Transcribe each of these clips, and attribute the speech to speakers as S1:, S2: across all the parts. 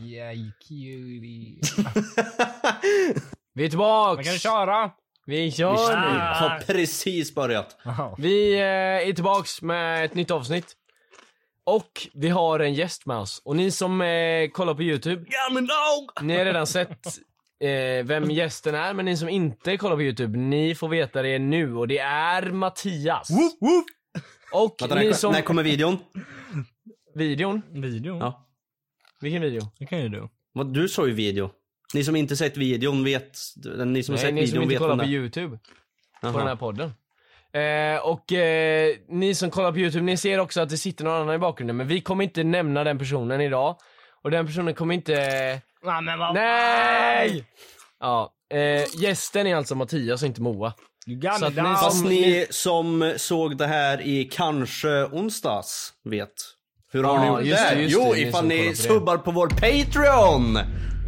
S1: yeah, you cutie. Vi är
S2: Man
S1: tillbaks!
S2: kan köra.
S1: Vi kör nu!
S2: Ah.
S3: Har precis börjat.
S1: Vi eh, är tillbaks med ett nytt avsnitt. Och vi har en gäst med oss. Och ni som eh, kollar på YouTube,
S3: Ja, men nog!
S1: ni har redan sett eh, vem gästen är. Men ni som inte kollar på YouTube, ni får veta det nu. Och det är Mattias. Och
S3: Vänta,
S1: ni
S3: när,
S1: som...
S3: när kommer videon?
S1: Videon?
S2: Videon?
S3: Ja.
S1: Vilken video?
S2: Det kan ju du.
S3: Vad, Du såg ju video. Ni som inte sett videon vet, ni som har
S1: Nej,
S3: sett
S1: ni som
S3: videon
S1: inte
S3: vet
S1: kollar
S3: vem
S1: på
S3: det är.
S1: YouTube. på den här
S3: Jaha.
S1: podden. Eh, och eh, ni som kollar på YouTube, ni ser också att det sitter någon annan i bakgrunden, men vi kommer inte nämna den personen idag. Och den personen kommer inte...
S2: Nej men vad...
S1: Nej! Ja, eh, gästen är alltså Mattias och inte Moa.
S2: You got
S1: Så
S2: me
S1: att ni-
S2: down.
S3: Fast ni som såg det här i kanske onsdags vet. Hur har
S1: Ja,
S3: ni gjort
S1: just det,
S3: där?
S1: just det,
S3: jo,
S1: ni
S3: ifall
S1: som kollar
S3: ni
S1: på det.
S3: subbar på vår Patreon!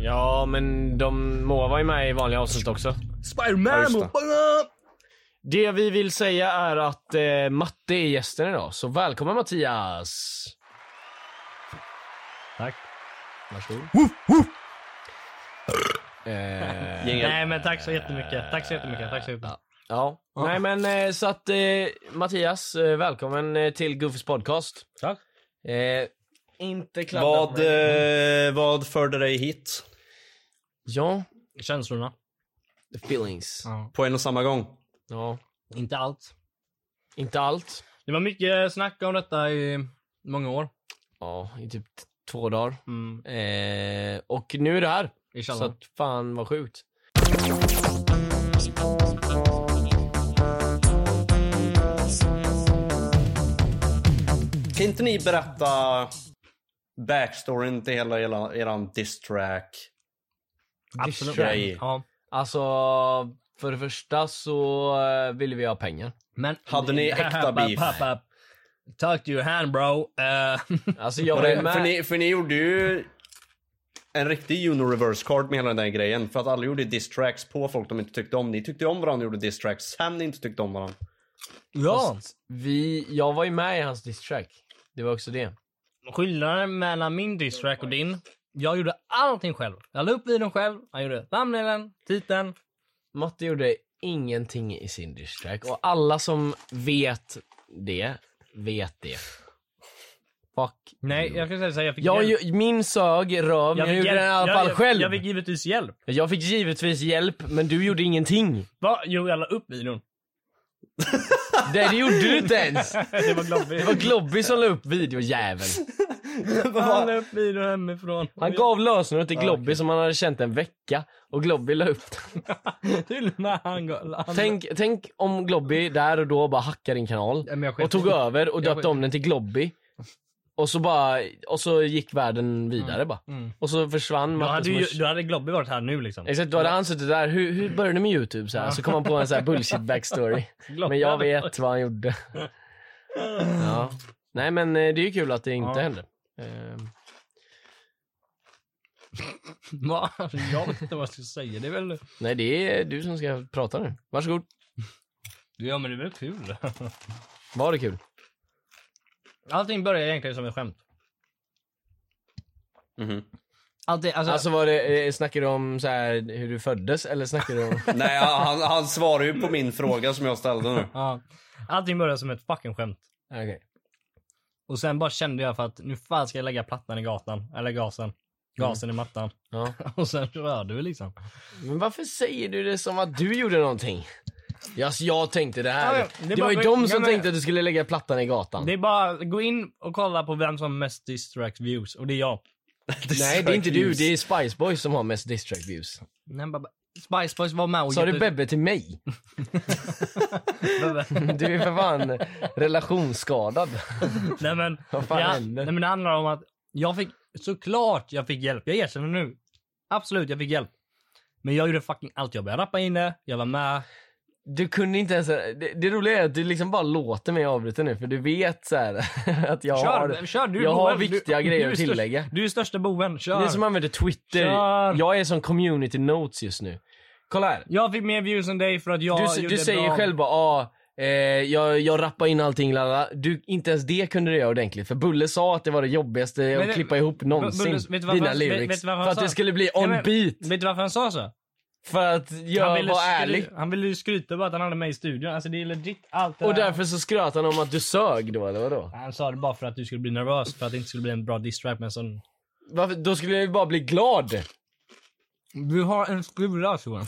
S1: Ja, men de, Moa var ju med i vanliga avsnitt också.
S3: Ja, just det.
S1: Det vi vill säga är att eh, Matte är gästen idag, så välkommen Mattias!
S2: Tack.
S1: Varsågod. Eh,
S3: Jingel.
S2: Nej men tack så jättemycket. Tack så jättemycket. Tack så jättemycket.
S1: Ja. Nej men eh, så att eh, Mattias, eh, välkommen eh, till Goofys podcast.
S2: Tack.
S1: Eh, inte kladda
S3: Vad,
S1: på mig.
S3: eh, vad förde dig hit?
S1: Ja.
S2: Känslorna.
S1: The feelings.
S2: Ja.
S3: På en och samma gång?
S1: Ja.
S2: Inte allt.
S1: Inte allt.
S2: Det var mycket snack om detta i många år.
S1: Ja, i typ t- två dagar.
S2: Mm.
S1: Eh, och nu är det här.
S2: I
S1: Så
S2: källaren.
S1: att fan vad sjukt.
S3: Kan inte ni berätta backstoryn till hela, hela eran diss-track?
S2: Absolut.
S3: Tjej.
S2: Ja.
S1: Alltså, för det första så eh, ville vi ha pengar.
S2: Men...
S3: Hade ni äkta beef?
S2: Talk to your hand bro. Eh,
S1: Alltså jag
S3: För,
S1: var ju
S3: det,
S1: med.
S3: för, ni, för ni gjorde ju en riktig Juno reverse card med hela den där grejen. För att alla gjorde diss-tracks på folk de inte tyckte om. Ni tyckte om varandra och gjorde diss-tracks sen ni inte tyckte om varandra.
S2: ja.
S1: Vi, jag var ju med i hans distrack. Det var också det.
S2: Skillnaden mellan min distrack och din. Jag gjorde allting själv. Jag la upp videon själv. Jag gjorde thumbnailen, titeln.
S1: Matte gjorde ingenting i sin distrack och alla som vet det, vet det. Fuck.
S2: Nej, jag kan säga så här, jag fick
S1: Jag,
S2: hjälp.
S1: ju- min sög röv, men jag gjorde den i alla fall
S2: jag,
S1: själv.
S2: Jag fick givetvis hjälp.
S1: givetvis hjälp, men du gjorde ingenting.
S2: Va? Jo, jag la upp videon.
S1: Det, det gjorde du inte ens.
S2: Det var Globby.
S1: Det var Globby som la upp videojäveln.
S2: Han la upp videon hemifrån.
S1: Han gav lösenordet till Globby som han hade känt en vecka och Globby la upp den.
S2: Till och med han gav... Han...
S1: Tänk, tänk om Globby där och då bara hackade din kanal
S2: Ja, men jag skiter
S1: och tog
S2: i-
S1: över och
S2: jag
S1: döpte
S2: skiter
S1: om den till Globby. Och så bara, och så gick världen vidare bara.
S2: Mm.
S1: Och så försvann
S2: Då
S1: Mattes
S2: hade, ju,
S1: mors...
S2: då hade Globby varit här nu liksom.
S1: Exakt, då hade han suttit där. Hur, hur började du med YouTube? Så, här, så kom han på en så här bullshit backstory.
S2: Globby
S1: Men jag
S2: hade-
S1: vet vad han gjorde. Ja. Nej men eh, det är ju kul att det inte
S2: Ja.
S1: hände. Ehm,
S2: Va? Jag vet inte vad jag skulle säga. Det är väl...
S1: Nej det är du som ska prata nu. Varsågod.
S2: Ja men det är väl kul.
S1: Var det kul?
S2: Allting börjar egentligen som ett skämt. Allting, alltså,
S1: Alltså var det, eh, snackar du om så här hur du föddes eller snackar du om...
S3: Nej, han, han svarar ju på min fråga som jag ställde nu.
S2: ja. allting börjar som ett fucking skämt.
S1: Okej.
S2: Och sen bara kände jag för att nu fan ska jag lägga plattan i gatan. Eller gasen. Gasen i mattan.
S1: Ja.
S2: Och sen körde vi liksom.
S1: Men varför säger du det som att du gjorde någonting? Ja, alltså, jag tänkte det här.
S2: Ja, men det
S1: det,
S2: är
S1: var
S2: bara-
S1: ju de
S2: ja,
S1: som
S2: men-
S1: tänkte att du skulle lägga plattan i gatan.
S2: Det är bara gå in och kolla på vem som har mest distract views. Och det är jag.
S1: Nej, det är inte du. Det är Spice Boys som har mest distrack views.
S2: Nej, bara, Spice Boys var med och
S1: Sa
S2: hjälpte-
S1: du Bebbe till mig?
S2: Bebbe.
S1: Du är för fan relationsskadad.
S2: Nej men,
S1: Vad fan
S2: det,
S1: händer?
S2: nej men det handlar om att jag fick, såklart jag fick hjälp. Jag erkänner nu. Absolut, jag fick hjälp. Men jag gjorde fucking allt. Jag började rappa inne, jag var med.
S1: Du kunde inte ens... Det, det roliga är att du liksom bara låter mig avbryta nu för du vet så här att jag har,
S2: kör, kör du
S1: jag har
S2: boven.
S1: viktiga grejer
S2: är
S1: att
S2: störst-
S1: tillägga.
S2: Du är största boven, kör.
S1: Det är som använder Twitter.
S2: Kör.
S1: Jag är som community notes just nu. Kolla här.
S2: Jag fick mer views än dig för att jag
S1: du,
S2: gjorde
S1: du säger
S2: bra.
S1: själv bara ah, eh, jag, jag rappar in allting lala. Du, inte ens det kunde du göra ordentligt för Bulle sa att det var det jobbigaste
S2: Men
S1: att
S2: det-
S1: klippa ihop någonsin.
S2: Bulle- vet du varför
S1: dina
S2: han- vet-
S1: lyrics.
S2: vet du varför han
S1: för att
S2: sa?
S1: det skulle bli
S2: Ja,
S1: on
S2: men-
S1: beat.
S2: Vet du varför han sa så?
S1: För att jag var
S2: skry-
S1: ärlig.
S2: Han ville ju skryta bara att han hade mig i studion. Alltså det är legit allt det
S1: Och
S2: där.
S1: därför så skröt han om att du sög då eller vadå?
S2: Han sa det bara för att du skulle bli nervös, för att det inte skulle bli en bra distrack men sån...
S1: Varför, då skulle jag ju bara bli glad.
S2: Du har en skula Johan.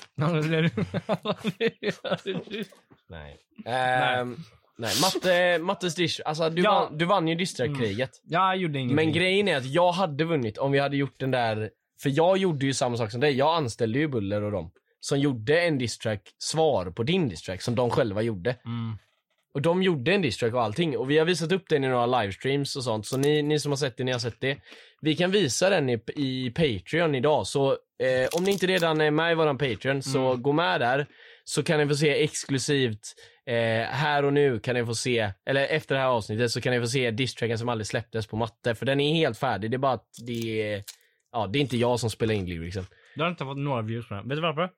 S2: Nej.
S1: Ehm, nej, Matte, Mattes dish, alltså du,
S2: Ja. Mm.
S1: vann, du vann ju distrakriget.
S2: Jag gjorde ingenting.
S1: Men grejen är att jag hade vunnit om vi hade gjort den där... För jag gjorde ju samma sak som dig. Jag anställde ju Buller och dem. Som gjorde en distrack svar på din distrack som de själva gjorde. Och de gjorde en distrack och allting. Och vi har visat upp den i några livestreams och sånt. Så ni, ni som har sett det, ni har sett det. Vi kan visa den i, i Patreon idag. Så eh, om ni inte redan är med i våran Patreon så
S3: Mm.
S1: gå med där. Så kan ni få se exklusivt eh, här och nu kan ni få se, eller efter det här avsnittet så kan ni få se distracken som aldrig släpptes på matte. För den är helt färdig. Det är bara att det är, ja det är inte jag som spelar in liksom. lyricsen.
S2: Du har inte fått några views på den. Vet du varför?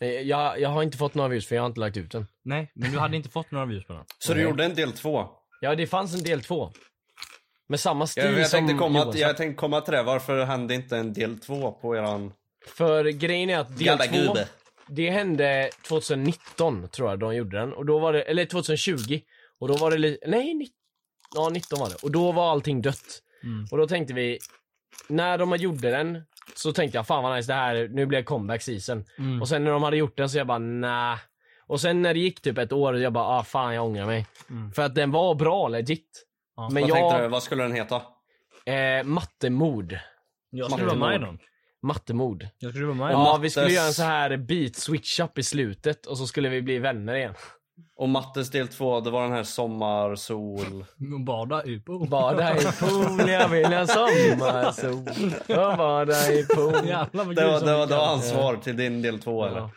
S1: Eh, Jag, jag har inte fått några views för jag har inte lagt ut den.
S2: Nej, men du hade inte fått några views på den.
S3: Så du gjorde en del två?
S1: Ja det fanns en del två. Med samma stil
S3: Jag, jag,
S1: som
S3: tänkte komma,
S1: Johan sa.
S3: jag tänkte komma till det, varför hände inte en del två på eran...
S1: För grejen är att del
S3: Jävla
S1: 2,
S3: gubbe.
S1: det hände 2019 tror jag de gjorde den. Och då var det, eller 2020. Och då var det lite, nej, ni, ja 19 var det. Och då var allting dött. Och då tänkte vi, när de gjorde den så tänkte jag fan vad nice det här, nu blir det comeback season. Och sen när de hade gjort den så jag bara nah. Och sen när det gick typ ett år, jag bara ah fan jag ångrar mig. För att den var bra legit. Men
S3: Vad tänkte du,
S1: jag,
S3: vad skulle den heta?
S1: eh, mattemord.
S2: Jag skulle vara med i den.
S1: Mattemord.
S2: Jag skulle vara med i
S1: Ja,
S2: den.
S1: vi skulle
S3: Mattes-
S1: göra en så här beat switch-up i slutet och så skulle vi bli vänner igen.
S3: Och Mattes del två, det var den här sommarsol...
S2: Och Bada UPO.
S1: Bada i pool, jag vill ha sommarsol. Jag bada i pool.
S2: Jävlar vad
S3: Det
S2: kul
S3: var,
S2: som
S3: det var,
S2: gick
S3: det var
S2: här.
S3: hans svar till din del två eller?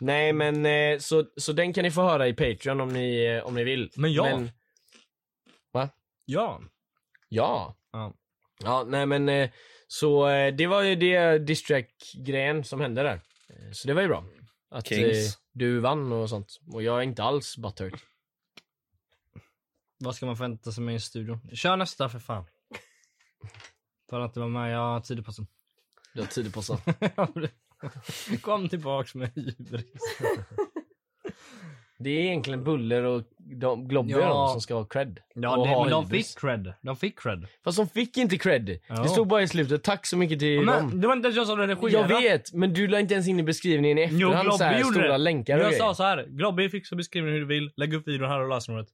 S1: Nej men eh, så, så den kan ni få höra i Patreon om ni, eh, om ni vill.
S2: Men ja.
S1: Va?
S2: Ja.
S1: Ja.
S2: Ja.
S1: Ja, nej men eh, så eh, det var ju det distrack-grejen som hände där. Eh, Så det var ju bra. Att eh,
S3: Kings.
S1: du vann och sånt. Och jag är inte alls butthurt.
S2: Vad ska man förvänta sig med en studio? Kör nästa för fan. För att det var med, jag har tidigt på sig.
S1: Du har tid på sig.
S2: Kom tillbaks med hybris.
S1: Det är egentligen Buller och de, Globby
S2: Ja.
S1: och de som ska ha cred.
S2: Ja,
S1: och
S2: det,
S1: ha
S2: men de
S1: hybris.
S2: fick cred. De fick cred.
S1: Fast de fick inte cred.
S2: Ja.
S1: Det stod bara i slutet, tack så mycket till
S2: Men
S1: dem.
S2: det var inte ens jag som
S1: Jag
S2: redigerade.
S1: vet, men du la inte ens in i beskrivningen i
S2: Jo,
S1: efterhand så
S2: Globby
S1: här,
S2: gjorde
S1: stora
S2: det.
S1: länkar och
S2: Jag
S1: grejer.
S2: sa så här. Globby fixa beskrivningen hur du vill. Lägg upp videon här och lösenordet.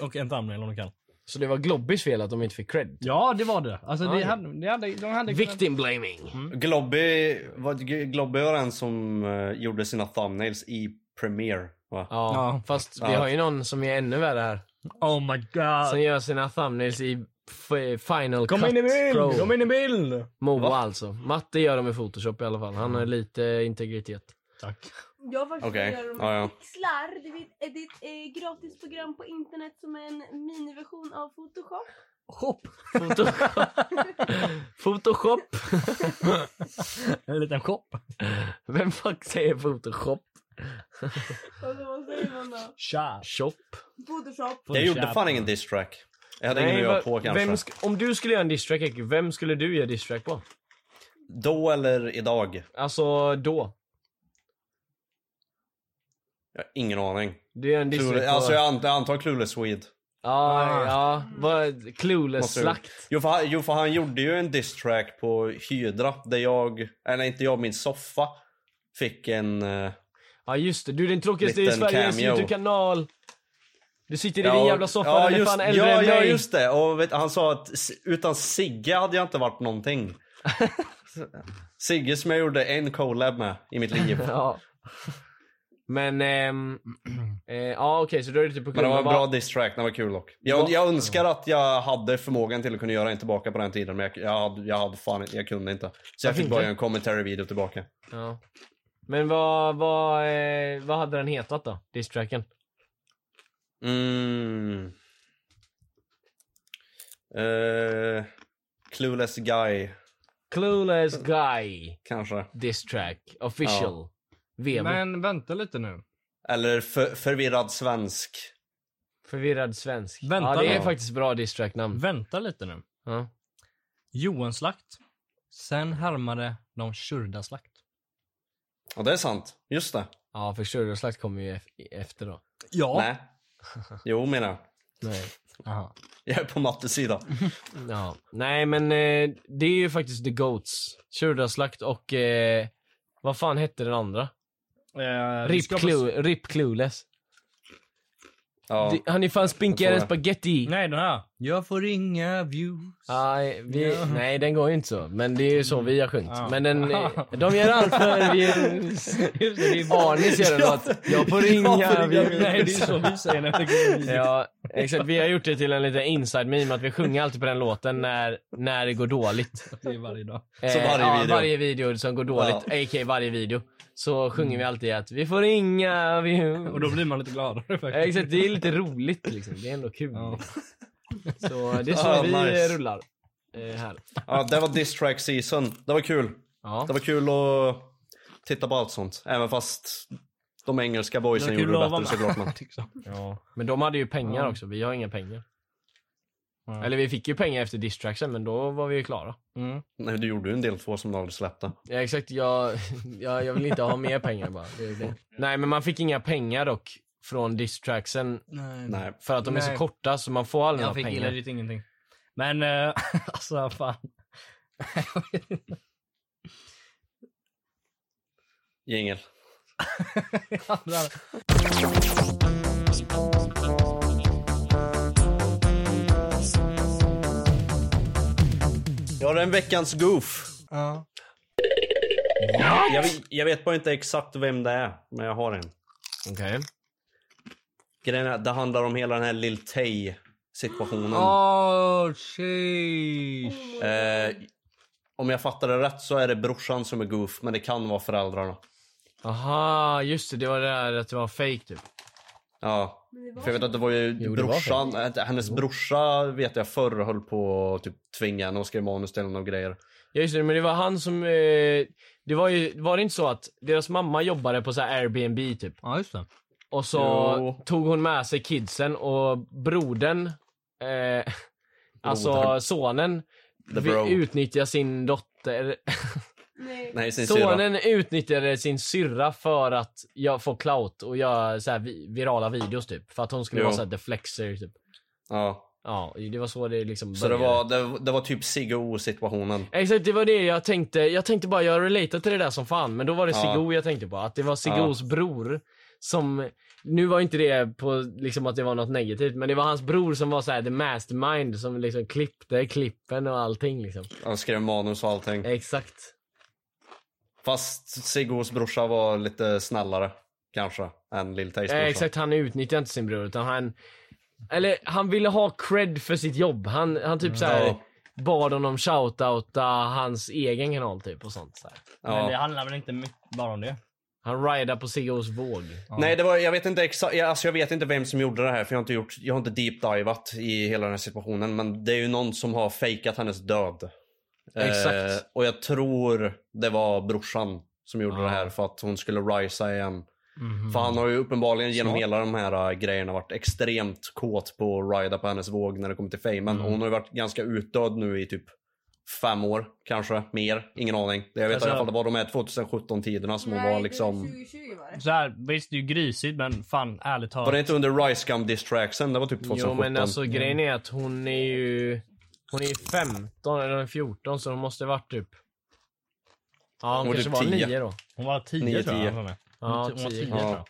S2: Och en thumbnail om du kan.
S1: Så det var Globbys fel att de inte fick cred.
S2: Ja, det var det. Alltså,
S1: Ja,
S2: det
S1: ja.
S2: hade, det hade, de hade
S1: Victim blaming.
S2: Mm.
S3: Globby var, G- Globby var den som eh, gjorde sina thumbnails i Premiere va?
S1: Ja,
S2: Ja.
S1: fast vi
S3: Ja.
S1: har ju någon som är ännu värre här.
S2: Oh my
S1: Som
S2: god.
S1: gör sina thumbnails i f- Final
S2: Kom
S1: Cut
S2: in i bild!
S1: Pro.
S2: Kom in i Mm. bild!
S1: Moa alltså. Matte gör dem i Photoshop i alla fall. Han har lite integritet.
S2: Tack.
S4: Jag faktiskt
S3: Okej,
S4: gör dem
S3: ja, ja.
S4: pixlar. Det är ett, det är ett eh, gratis program på internet som är en miniversion av Photoshop.
S2: Hopp!
S1: Photoshop. Photoshop.
S2: En liten shop.
S1: Vem fuck säger Photoshop?
S4: Alltså, vad säger man då?
S2: Tja!
S1: Shop.
S4: Photoshop.
S3: Jag gjorde fan ingen diss-track. Jag hade ingen att göra
S1: vad-
S3: på kanske.
S1: vem sk- om du skulle göra en distrack, vem skulle du göra distrack på?
S3: Då eller idag?
S1: Alltså då.
S3: Jag har ingen aning.
S1: Du gör en distrack
S3: Clueless,
S1: på...
S3: alltså jag antar, jag antar Clueless Swede.
S1: Ja, ja. Vad, clueless
S3: Måste-
S1: slakt.
S3: Jo för, han, jo för han gjorde ju en diss-track på Hydra där jag, eller inte jag, min soffa fick en... eh,
S1: Ja just det, du den tråkigaste i
S3: Liten
S1: Sveriges
S3: cameo.
S1: YouTube-kanal. Du sitter i din jävla soffa, den är fan äldre
S3: ja,
S1: än
S3: ja
S1: mig.
S3: just det. Och vet, han sa att s- utan Sigge hade jag inte varit någonting. Sigge som jag gjorde en collab med i mitt liv.
S1: Ja. Men, ehm, eh, ja okej så då är det typ på
S3: Men det var en
S1: grund av-
S3: bra diss-track, den var kul dock. Jag, jag önskar att jag hade förmågan till att kunna göra en tillbaka på den tiden men jag, jag, hade, jag hade fan jag kunde inte. Så jag
S1: Varför
S3: fick bara
S1: inte?
S3: göra en commentary-video tillbaka.
S1: Ja. Men vad, vad, eh, vad hade den hetat då? Distracken?
S3: Mm. Eh, clueless guy,
S1: Clueless guy
S3: kanske.
S1: distrack official. VB.
S2: Men vänta lite nu.
S1: Mm.
S3: Eller för, förvirrad svensk.
S1: Förvirrad svensk.
S2: Vänta
S1: ja, det är
S2: nu.
S1: faktiskt bra distrack-namn.
S2: Vänta lite nu.
S1: Ja.
S2: Johan slakt. Sen härmade de Shurda slakt.
S3: Ja, det är sant. Just det.
S1: ja, för Shurda Slakt kommer ju ef- efter då.
S2: Ja.
S3: Nej. Jo, menar jag.
S1: Nej.
S2: Aha.
S3: Jag är på Mattes sida.
S2: Mm.
S1: Ja. Nej, men eh, det är ju faktiskt The Goats. Shurda Slakt och... Eh, vad fan hette den andra?
S2: Eh,
S1: Rip,
S2: ska-
S1: Clu- Rip Clueless.
S3: Ja.
S1: Det- Han är fan spinkigare
S3: Jag
S1: än
S3: tror det.
S1: spaghetti.
S2: Nej den här. Jag får inga views.
S1: Aj, vi, Nej, den går ju inte så. Men det är ju så vi har sjungit.
S2: Ja.
S1: Men den, eh, de gör allt för views. Just det, det är Barnis gör en låt. Jag får inga views.
S2: Nej det är så vi säger när det går vidare.
S1: Ja, exakt. Vi har gjort det till en liten inside meme att vi sjunger alltid på den låten när, när det går dåligt.
S2: Det är varje dag.
S1: Eh,
S3: varje
S1: ja,
S3: video.
S1: varje video som går dåligt, a.k.a. varje video, så sjunger vi alltid att vi får inga
S2: Och
S1: views.
S2: då blir man lite gladare
S1: Eh,
S2: faktiskt.
S1: Exakt, det är lite roligt liksom. Det är ändå kul.
S2: Ja.
S1: Så det är så
S3: Ah,
S1: vi
S3: nice.
S1: eh, rullar. Eh, här.
S3: ja, det var diss track season. Det var kul.
S1: Ja.
S3: Det var kul att titta på allt sånt. Även fast de engelska boysen
S2: Det var kul
S3: gjorde
S2: att
S3: det
S2: vara
S3: bättre såklart. Men.
S1: liksom- Ja. Men de hade ju pengar
S2: Ja.
S1: också. Vi har inga pengar.
S2: Ja.
S1: Eller vi fick ju pengar efter distraction men då var vi ju klara.
S2: Mm.
S3: Nej, du gjorde ju en del två som du aldrig släppte.
S1: Ja, exakt, jag, jag, jag vill inte ha mer pengar bara. Det är det. Nej men man fick inga pengar dock från distraction
S2: Nej.
S3: Nej.
S1: för att de är
S2: Nej.
S1: så korta så man får aldrig
S2: Jag
S1: några
S2: fick
S1: pengar.
S2: illa dit ingenting. Men eh, alltså fan.
S3: Jingel.
S2: Mm.
S3: Jag har en veckans goof.
S2: Ja.
S3: Jag, vet- jag vet bara inte exakt vem det är, men jag har en.
S1: Okej.
S3: Grejen är, det handlar om hela den här Lil Tay situationen.
S2: Oh sheesh.
S3: Eh, om jag fattar det rätt så är det brorsan som är goof, men det kan vara föräldrarna.
S1: Aha, just det. Det var det där att det var fake typ.
S3: Ja. För jag vet att det var ju
S1: Jo, det var
S3: brorsan, eh, hennes brorsa vet jag förr höll på att typ tvinga henne och skrev manus till henne och grejer.
S1: Ja, just det, men det var han som... Eh, det var ju... Var det inte så att deras mamma jobbade på så här Airbnb typ?
S2: Ja just det.
S1: Och så
S3: Jo.
S1: tog hon med sig kidsen och brodern, eh, alltså
S3: Brodern.
S1: sonen,
S3: The
S1: vi-
S3: bro.
S1: utnyttjade sin dotter.
S4: Nej.
S3: Nej, sin syrra.
S1: Sonen utnyttjade sin syrra för att jag få clout och göra så här vi- virala videos typ. För att hon skulle
S3: Jo.
S1: vara såhär deflexer typ.
S3: Ja.
S1: Ja, det var så det liksom
S3: Så det
S1: började.
S3: var, det, det var typ Sigge O situationen.
S1: Exakt, det var det jag tänkte. Jag tänkte bara, jag relaterar till det där som fan. Men då var det
S3: Ja.
S1: Siggo jag tänkte på. Att det var Siggos bror som... Nu var inte det på liksom att det var något negativt, men det var hans bror som var så här the mastermind som liksom klippte klippen och allting liksom.
S3: Han skrev manus och allting.
S1: Exakt.
S3: Fast Siggos brorsa var lite snällare. Kanske. Än Lil Tays
S1: Eh,
S3: brorsa.
S1: exakt, han utnyttjade inte sin bror utan han... Eller han ville ha cred för sitt jobb. Han, han typ så här
S3: Ja.
S1: bad honom shoutouta hans egen kanal typ och sånt. Så här.
S2: Men det
S3: Ja.
S2: handlar väl inte mycket bara om det?
S1: Han rideade på Siggos våg.
S3: Nej, det var, jag, vet inte exa- jag, alltså, jag vet inte vem som gjorde det här för jag har inte, gjort, jag har inte deep divat i hela den här situationen. Men det är ju någon som har fejkat hennes död. Eh,
S1: Exakt.
S3: och jag tror det var brorsan som gjorde det här för att hon skulle risa igen.
S2: Mhm.
S3: För han har ju uppenbarligen genom hela de här äh, grejerna varit extremt kåt på att rida på hennes våg när det kommer till famen. Och Hon har ju varit ganska utdöd nu i typ fem år, kanske mer. Ingen aning. Jag vet
S2: Alltså-
S3: i alla fall det var de här 2017-tiderna som hon var liksom...
S4: 2020 var det.
S2: Så här, visst det är ju grisigt men fan ärligt talat.
S3: Var det inte under Ricegum distraxen? Det var typ 2017.
S1: Jo men alltså grejen är att hon är ju... Hon är ju 15 eller hon är 14 så hon måste varit typ... Ja hon,
S3: Hon var
S1: kanske
S3: typ
S1: var
S3: 10.
S1: 9 då.
S2: Hon var 10
S3: Nio,
S2: tror jag.
S3: tio.
S2: Hon var med.
S1: Ja,
S2: Hon var 10
S1: tio.
S2: tror jag.
S3: Ja.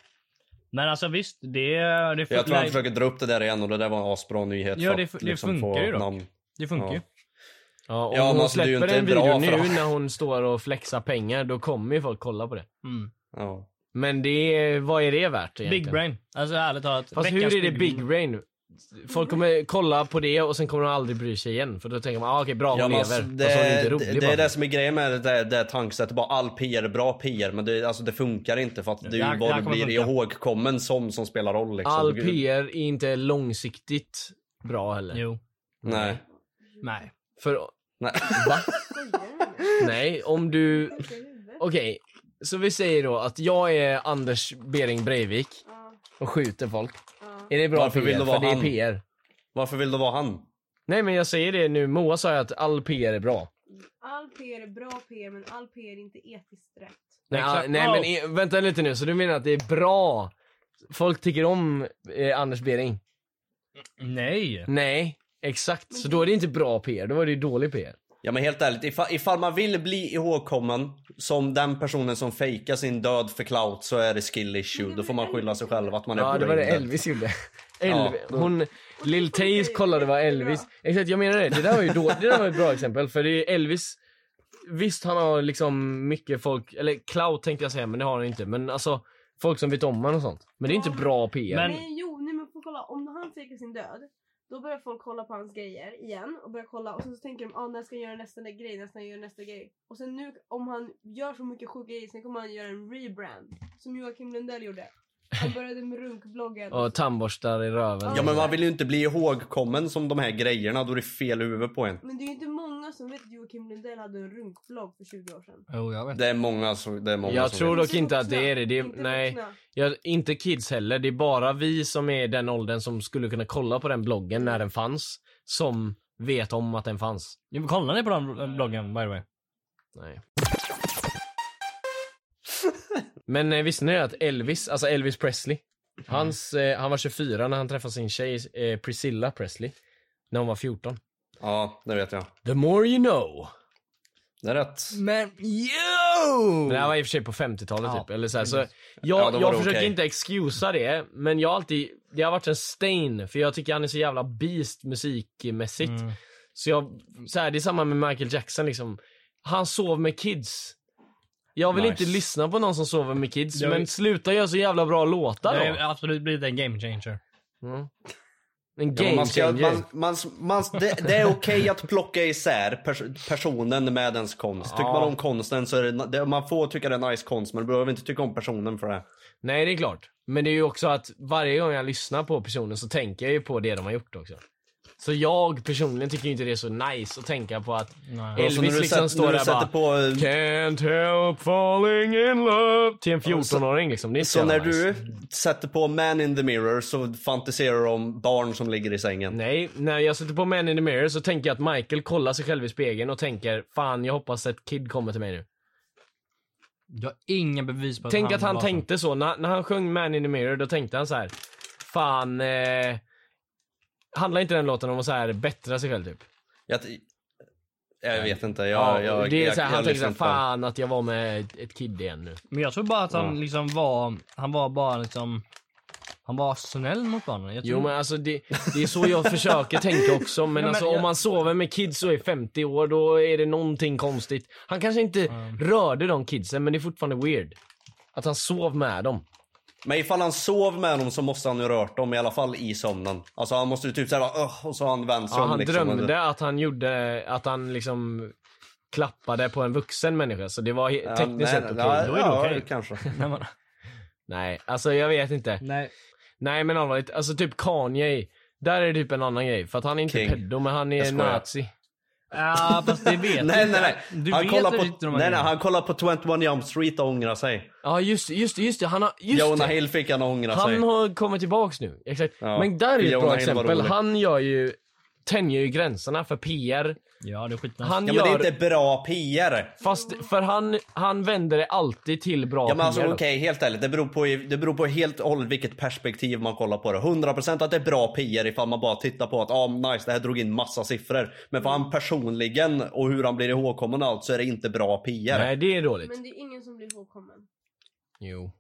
S2: Men alltså visst, det, det,
S3: Jag tror han
S2: funkar,
S3: försöker dra upp det där igen och det där var en asbra nyhet.
S2: Ja,
S3: för
S2: det
S3: att liksom
S2: fu- det funkar ju dock. det funkar ju.
S3: Ja.
S1: Ja, om
S3: Ja, men
S1: hon
S3: alltså, det är ju
S1: släpper en
S3: inte
S1: video
S3: bra
S1: nu
S3: för dem.
S1: när hon står och flexar pengar då kommer ju folk kolla på det.
S2: Mm.
S3: Ja.
S1: Men det, är- vad är det värt egentligen?
S2: Big brain. Alltså ärligt talat.
S1: Fast
S2: veckans
S1: hur är det big brain? Folk kommer kolla på det och sen kommer de aldrig bry sig igen. För då tänker man, ah, okej bra hon
S3: Ja, men alltså,
S1: lever.
S3: det,
S1: och så är hon inte
S3: det,
S1: rolig
S3: det är
S1: bara.
S3: det som är grejen med det, där- det här tankesättet. Bara all PR är bra PR. Men det, alltså, det funkar inte för att det är ju
S2: Det här- det
S3: vad
S2: här
S3: du
S2: kommer
S3: blir
S2: funka.
S3: ihågkommen som som spelar roll. Liksom.
S1: All
S3: Du-
S1: PR är inte långsiktigt bra heller.
S2: Jo.
S3: Nej.
S2: Nej.
S1: För
S3: Nej.
S1: Va? Nej, om du... Okej, så vi säger då att jag är Anders Bering Breivik och skjuter folk. Är det bra
S3: Varför
S1: PR?
S3: vill du vara
S1: För det är
S3: han?
S1: PR.
S3: Varför vill du vara han?
S1: Nej men jag säger det nu, Moa sa ju att all PR är bra.
S4: All PR är bra PR men all PR är inte etiskt rätt.
S1: Nej,
S2: Exakt.
S1: all, nej
S2: Oh.
S1: men e- vänta lite nu, så du menar att det är bra? Folk tycker om eh, Anders Bering?
S3: e-
S2: Nej.
S1: Nej, exakt. Så då är det inte bra PR, då var det ju dålig PR.
S3: Ja men helt ärligt, ifall, ifall man vill bli ihågkommen som den personen som fejkar sin död för clout så är det skill issue. Då får man skylla sig själv att man är
S1: Ja, det var det
S3: brain dead.
S1: Elvis gjorde.
S3: Ja.
S1: Elvis. Hon, Lil Tays kollade vad Elvis... Exakt, jag menar det. Det där var ju då, det där var ett bra exempel. För det är ju Elvis... Visst, han har liksom mycket folk... Eller clout tänkte jag säga, men det har han inte. Men alltså, folk som vet om honom och sånt. Men det är inte bra PR.
S2: Men-
S4: Nej jo, nej, men får kolla. Om han fejkar sin död, då börjar folk kolla på hans grejer igen och börjar kolla och sen så tänker de ah, när ska jag göra nästa grej, när ska jag göra nästa grej. Och sen nu om han gör så mycket sjuka grejer sen kommer han göra en rebrand. Som Joakim Lundell gjorde. Han började med runkbloggen.
S1: Och tandborstar i röven.
S3: Ja men man vill ju inte bli ihågkommen som de här grejerna, då är det fel huvud på en.
S4: Men det är ju inte många som vet att Joakim Lundell hade en runkblogg för 20 år sedan.
S2: Jo jag vet.
S3: Det är många, så, det är många
S1: Jag
S3: som
S1: tror
S3: vet.
S1: dock inte att det är det. det är,
S4: Inte
S1: nej,
S4: vuxna.
S1: jag, inte kids heller. Det är bara vi som är i den åldern som skulle kunna kolla på den bloggen när den fanns. Som vet om att den fanns.
S2: Ja, men Kollar ni på den eh, bloggen by the way?
S1: Nej. Men eh, visste ni att Elvis, alltså Elvis Presley, hans, eh, han var 24 när han träffade sin tjej eh, Priscilla Presley. När hon var 14.
S3: Ja, det vet jag.
S1: The more you know.
S3: Det är rätt.
S1: Mm.
S2: Men yo!
S1: Men det här var i och för sig på 50-talet
S2: Ja,
S1: typ. Eller så här, så jag
S2: precis.
S3: Ja, då var
S1: jag
S3: det
S1: försöker
S3: okej.
S1: inte excusa det, men jag har alltid, det har varit en stain. För jag tycker han är så jävla beast musikmässigt.
S3: Mm.
S1: Så jag, så här, det är samma med Michael Jackson liksom. Han sov med kids. Jag vill
S3: Nice.
S1: inte lyssna på någon som sover med kids,
S2: Jag-
S1: men sluta göra så jävla bra låtar
S2: Det
S1: då.
S2: har ju absolut blivit en game changer.
S1: En
S3: Ja, men
S1: game
S3: man ska,
S1: changer.
S3: man, man, man, det, det är okej att plocka isär pers, personen med ens konst. Tycker man om konsten så är det, det, man får tycka det är nice konst men du behöver inte tycka om personen för det.
S1: Nej, det är klart. Men det är ju också att varje gång jag lyssnar på personen så tänker jag ju på det de har gjort också. Så jag personligen tycker ju inte det är så nice att tänka på att
S2: Nej.
S3: Och så när
S1: Elvis
S3: du
S1: liksom
S3: sätter-
S1: står
S3: när du
S1: där
S3: sätter
S1: bara
S3: på-
S1: Can't help falling in love till en
S3: Och så-
S1: 14-åring liksom. Det är inte
S3: Så
S1: jävla
S3: när
S1: nice.
S3: du sätter på man in the mirror så fantiserar du om barn som ligger i sängen.
S1: Nej, när jag sätter på Man in the Mirror så tänker jag att Michael kollar sig själv i spegeln och tänker Fan, jag hoppas att Kid kommer till mig nu.
S2: Jag har inga bevis på att
S1: Tänk att han
S2: var så.
S1: tänkte så. När, när han sjöng Man in the Mirror, då tänkte han så här. Fan, eh, handlar inte den låten om att så här bättra sig själv typ?
S3: Jag, jag vet inte. Jag, jag,
S1: det är
S3: jag,
S1: så här,
S3: jag
S1: han tänker såhär,
S3: lyssnar inte på det.
S1: fan att jag var med ett- ett kid igen nu.
S2: Men jag tror bara att han liksom var, han var bara liksom, han var snäll mot barnen. Jag tror,
S1: Jo
S3: Mm.
S1: men alltså det, det är så jag försöker tänka också. Men,
S2: men
S1: alltså
S2: jag-
S1: om man sover med kids och är 50 år då är det någonting konstigt. Han kanske inte rörde de kidsen men det är fortfarande weird. Att han sov med dem.
S3: Men ifall han sov med dem så måste han ju rört dem i alla fall i sömnen. Alltså han måste ju typ såhär öh, och så har han vänt sig
S1: Ja,
S3: om
S1: han
S3: liksom.
S1: drömde att han gjorde, att han liksom klappade på en vuxen människa. Så det var he-
S3: Ja,
S1: tekniskt
S3: nej,
S1: sett okej.
S3: nej,
S2: Då är det
S3: ja,
S2: okej.
S3: kanske.
S2: Nej, men,
S1: Nej, alltså jag vet inte.
S2: nej.
S1: Nej men allvarligt, alltså typ Kanye. Där är det typ en annan grej. För att han är inte
S3: King.
S1: pedo men han är
S3: Jag skojar.
S1: nazi.
S2: Ja fast det vet
S3: Nej
S2: du
S3: nej
S2: inte.
S3: nej.
S2: Du
S3: han
S2: vet
S3: kollar
S2: väl
S3: på,
S2: inte de här
S3: nej, nej,
S2: grejerna?
S3: han kollar på 21 Jump Street och ångrar sig.
S1: Ja just det, just det, just det. Han har, just
S3: Jonah
S1: det.
S3: Hill fick han att ångra sig.
S1: Han har kommit tillbaks nu. Exakt.
S3: Ja.
S1: Men där är ju ett
S3: Jonah
S1: bra
S3: Hill var
S1: exempel.
S3: rolig.
S1: Han gör ju, tänjer ju gränserna för PR.
S2: Ja det är skitnice.
S1: Han
S3: Ja men
S1: gör,
S3: det är inte bra PR.
S1: fast för han, han vänder det alltid till bra
S3: Ja men alltså
S1: PR.
S3: okej,
S1: dock.
S3: helt ärligt. Det beror, på, det beror på helt och hållet vilket perspektiv man kollar på det. 100% att det är bra PR ifall man bara tittar på att ah, nice, det här drog in massa siffror. Men för han personligen och hur han blir ihågkommen och allt så är det inte bra PR.
S1: Nej det är dåligt.
S4: Men det är ingen som blir ihågkommen.
S1: Jo.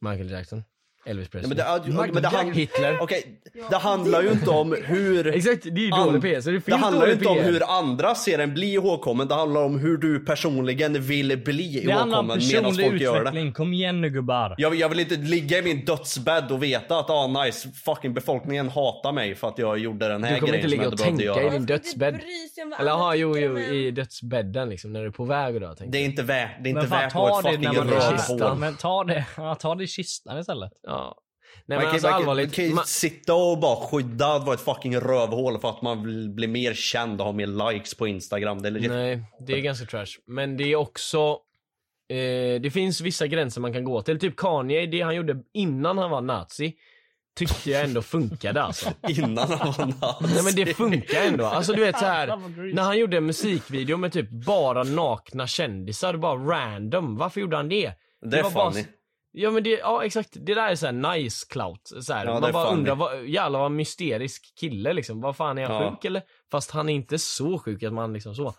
S1: Michael Jackson. Elvis
S3: Ja,
S1: Presley.
S3: men det, ja,
S1: Michael
S3: men det,
S1: Jack-
S3: han,
S1: Hitler.
S3: Okej,
S4: Ja,
S3: det handlar ju inte om hur...
S1: Exakt, det är ju
S3: an-
S1: dålig PR. Så det,
S3: Det handlar ju
S1: dålig
S3: inte om
S1: PR.
S3: hur andra ser en bli ihågkommen. Det handlar om hur du personligen vill bli
S2: Det handlar om
S3: ihågkommen medan
S2: personlig
S3: folk gör det.
S2: utveckling. Kom igen nu gubbar.
S3: Jag, jag vill inte ligga i min dödsbädd och veta att ah nice, fucking befolkningen hatar mig för att jag gjorde den här
S1: Du kommer
S3: grejen
S1: inte ligga
S3: som jag
S1: och
S3: inte behövde
S1: tänka i
S3: göra.
S4: Man ska inte Alltså,
S1: din dödsbädd.
S4: typ, bry sig om vad
S1: Eller
S4: andra
S1: aha, jo,
S4: tycker
S1: jo,
S4: om en.
S1: i dödsbädden liksom, när du är på väg att dö. tänkte
S3: Det är
S1: jag.
S3: inte värt, det är inte
S2: Men fan
S3: värt att ha
S2: ta
S3: ett
S2: det när
S3: fucking
S2: man
S1: röd
S2: är i
S1: hål.
S2: kistan.
S3: rövhål.
S2: Men ta det, ja, ta det i kistan istället.
S1: Ja. Nej
S3: Man
S1: men
S3: kan,
S1: alltså
S3: man, kan, man
S1: allvarligt.
S3: kan ju
S1: ma-
S3: sitta och bara skydda att vara ett fucking rövhål för att man vill bli mer känd och ha mer likes på Instagram. Det är legit.
S1: Nej, det är ganska trash. Men det är också... Eh, det finns vissa gränser man kan gå till. Typ Kanye, det han gjorde innan han var nazi, tyckte jag ändå funkade alltså.
S3: Innan han var nazi.
S1: Nej men det funkar ändå. Alltså du vet så här när han gjorde en musikvideo med typ bara nakna kändisar, bara random. Varför gjorde han det?
S3: Det är funny.
S1: Ja men det, ja exakt. Det där är såhär nice clout. Så här.
S3: Ja, det är
S1: Man bara
S3: funny.
S1: undrar, vad, jävlar vad mysterisk kille liksom. Vad fan är han
S3: Ja.
S1: sjuk eller? Fast han är inte så sjuk att man liksom så.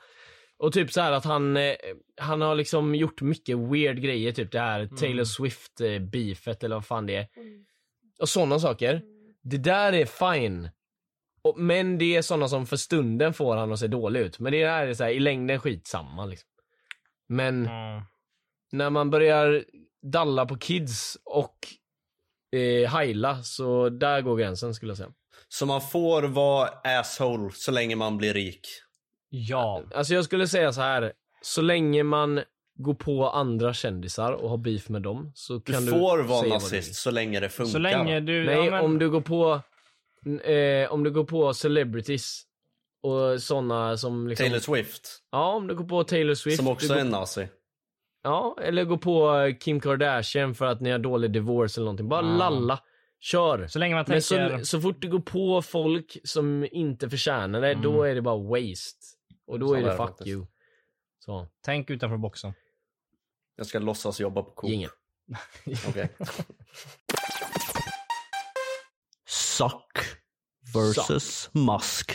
S1: Och typ så här att han, eh, han har liksom gjort mycket weird grejer. Typ det här
S3: Mm.
S1: Taylor Swift eh, beefet eller vad fan det är. Och sådana saker. Det där är fine. Och, men det är sådana som för stunden får han att se dålig ut. Men det här är så här, i längden skitsamma liksom. Men
S2: Mm.
S1: när man börjar dalla på kids och eh, heila, så där går gränsen skulle jag säga.
S3: Så man får vara asshole så länge man blir rik.
S2: Ja.
S1: Alltså jag skulle säga så här. så länge man går på andra kändisar och har beef med dem så
S3: Du
S1: kan du
S3: får vara
S1: säga vad du
S3: nazist
S1: vill.
S3: så länge det funkar.
S2: Så länge du...
S1: Nej,
S2: ja, men,
S1: om du går på n- eh, om du går på celebrities och såna som liksom...
S3: Taylor Swift,
S1: Ja, om du går på Taylor Swift.
S3: som
S1: du
S3: också
S1: går...
S3: är en nazi.
S1: Ja, eller gå på eh, Kim Kardashian för att ni har dålig divorce eller någonting. Bara
S3: Ah.
S2: Ja.
S1: lalla. Kör.
S2: Så länge man
S1: Men
S2: tänker...
S1: så, så fort du går på folk som inte förtjänar det,
S2: Mm.
S1: då är det bara waste. Och då
S3: Så
S1: är
S3: är
S1: det
S3: det
S1: fuck
S3: faktiskt.
S1: you. Så,
S2: Tänk utanför boxen.
S3: Jag ska låtsas jobba på Coop.
S1: ingen.
S3: Okej. Suck versus Musk.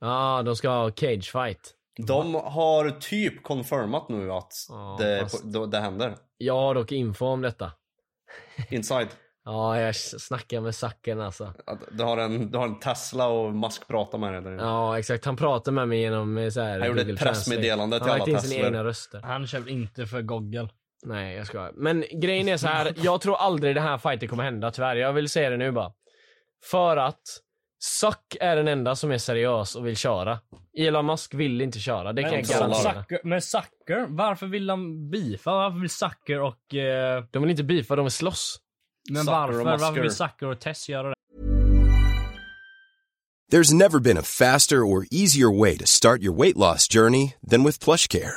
S1: Ja, ah, de ska ha cage fight.
S3: De har typ confirmat nu att
S1: Ja,
S3: det,
S1: fast-
S3: det, det händer.
S1: Jag har dock info om detta.
S3: Inside.
S1: Ja, jag s- snackar med Sacken alltså.
S3: Att Du har, en, du har en Tesla och Musk pratar med dig där inne.
S1: Ja, exakt. Han pratar med mig genom eh, så här,
S3: Han gjorde ett
S1: Google Translate.
S3: pressmeddelande till
S1: Han har lagt
S3: alla
S1: in sina
S3: Teslor.
S1: egna röster.
S2: Han kör inte för Google.
S1: Nej, jag skojar. Men grejen är så här. jag tror aldrig den här fighten kommer hända tyvärr. Jag vill säga det nu bara. För att Suck är den enda som är seriös och vill köra. Elon Musk vill inte köra, det kan
S2: Men
S1: jag
S3: Sa-
S1: garantera.
S2: Zucker, men Zucker, varför vill de beefa? Varför vill Zucker och... Eh,
S1: De vill inte beefa, de vill slåss.
S2: men
S3: Zucker och
S2: varför? Varför
S3: Musker.
S2: vill Zucker och Tess göra det?
S5: There's never been a faster or easier way to start your weight loss journey than with PlushCare.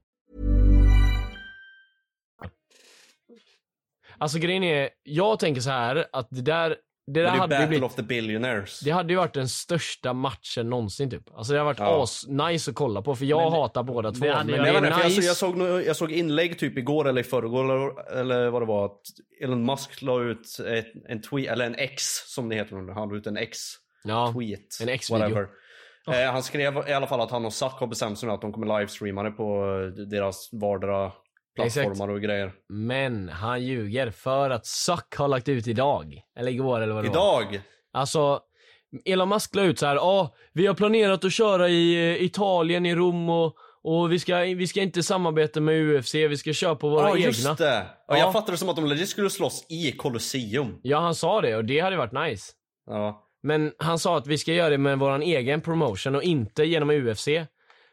S1: Alltså grejen är, jag tänker så här att det där det där
S3: Men det är
S1: hade
S3: Battle
S1: ju blivit...
S3: of the Billionaires.
S1: Det hade ju varit den största matchen någonsin typ. Alltså det har varit
S3: Ja.
S1: as-nice att kolla på för jag hatar båda två. Men
S2: hade
S1: det
S2: jag-
S3: Nej,
S1: är
S3: men för jag,
S1: nice.
S3: såg, jag, såg, nog- jag såg inlägg typ igår eller i förrgår eller, eller vad det var. Att Elon Musk la ut ett, en tweet, eller en X som det heter nu. Han la ut en X-tweet.
S1: ja. en X-video.
S3: whatever. Eh, han skrev i alla fall att han och Zack har bestämt sig nu att de kommer livestreama det på eh, deras vardera plattformar
S1: Exakt.
S3: och grejer.
S1: Men han ljuger för att Suck har lagt ut idag. Eller igår eller vad det var.
S3: Idag!
S1: Alltså, Elon Musk la ut så här, ja, vi har planerat att köra i eh, Italien, i Rom och, och vi, ska, vi ska inte samarbeta med UFC, vi ska köra på våra
S3: Ja
S1: egna.
S3: just det! Ja.
S1: Ja.
S3: Jag fattade det som att de legit skulle slåss i Colosseum.
S1: Ja, han sa det och det hade varit nice.
S3: Ja.
S1: Men han sa att vi ska göra det med våran egen promotion och inte genom UFC.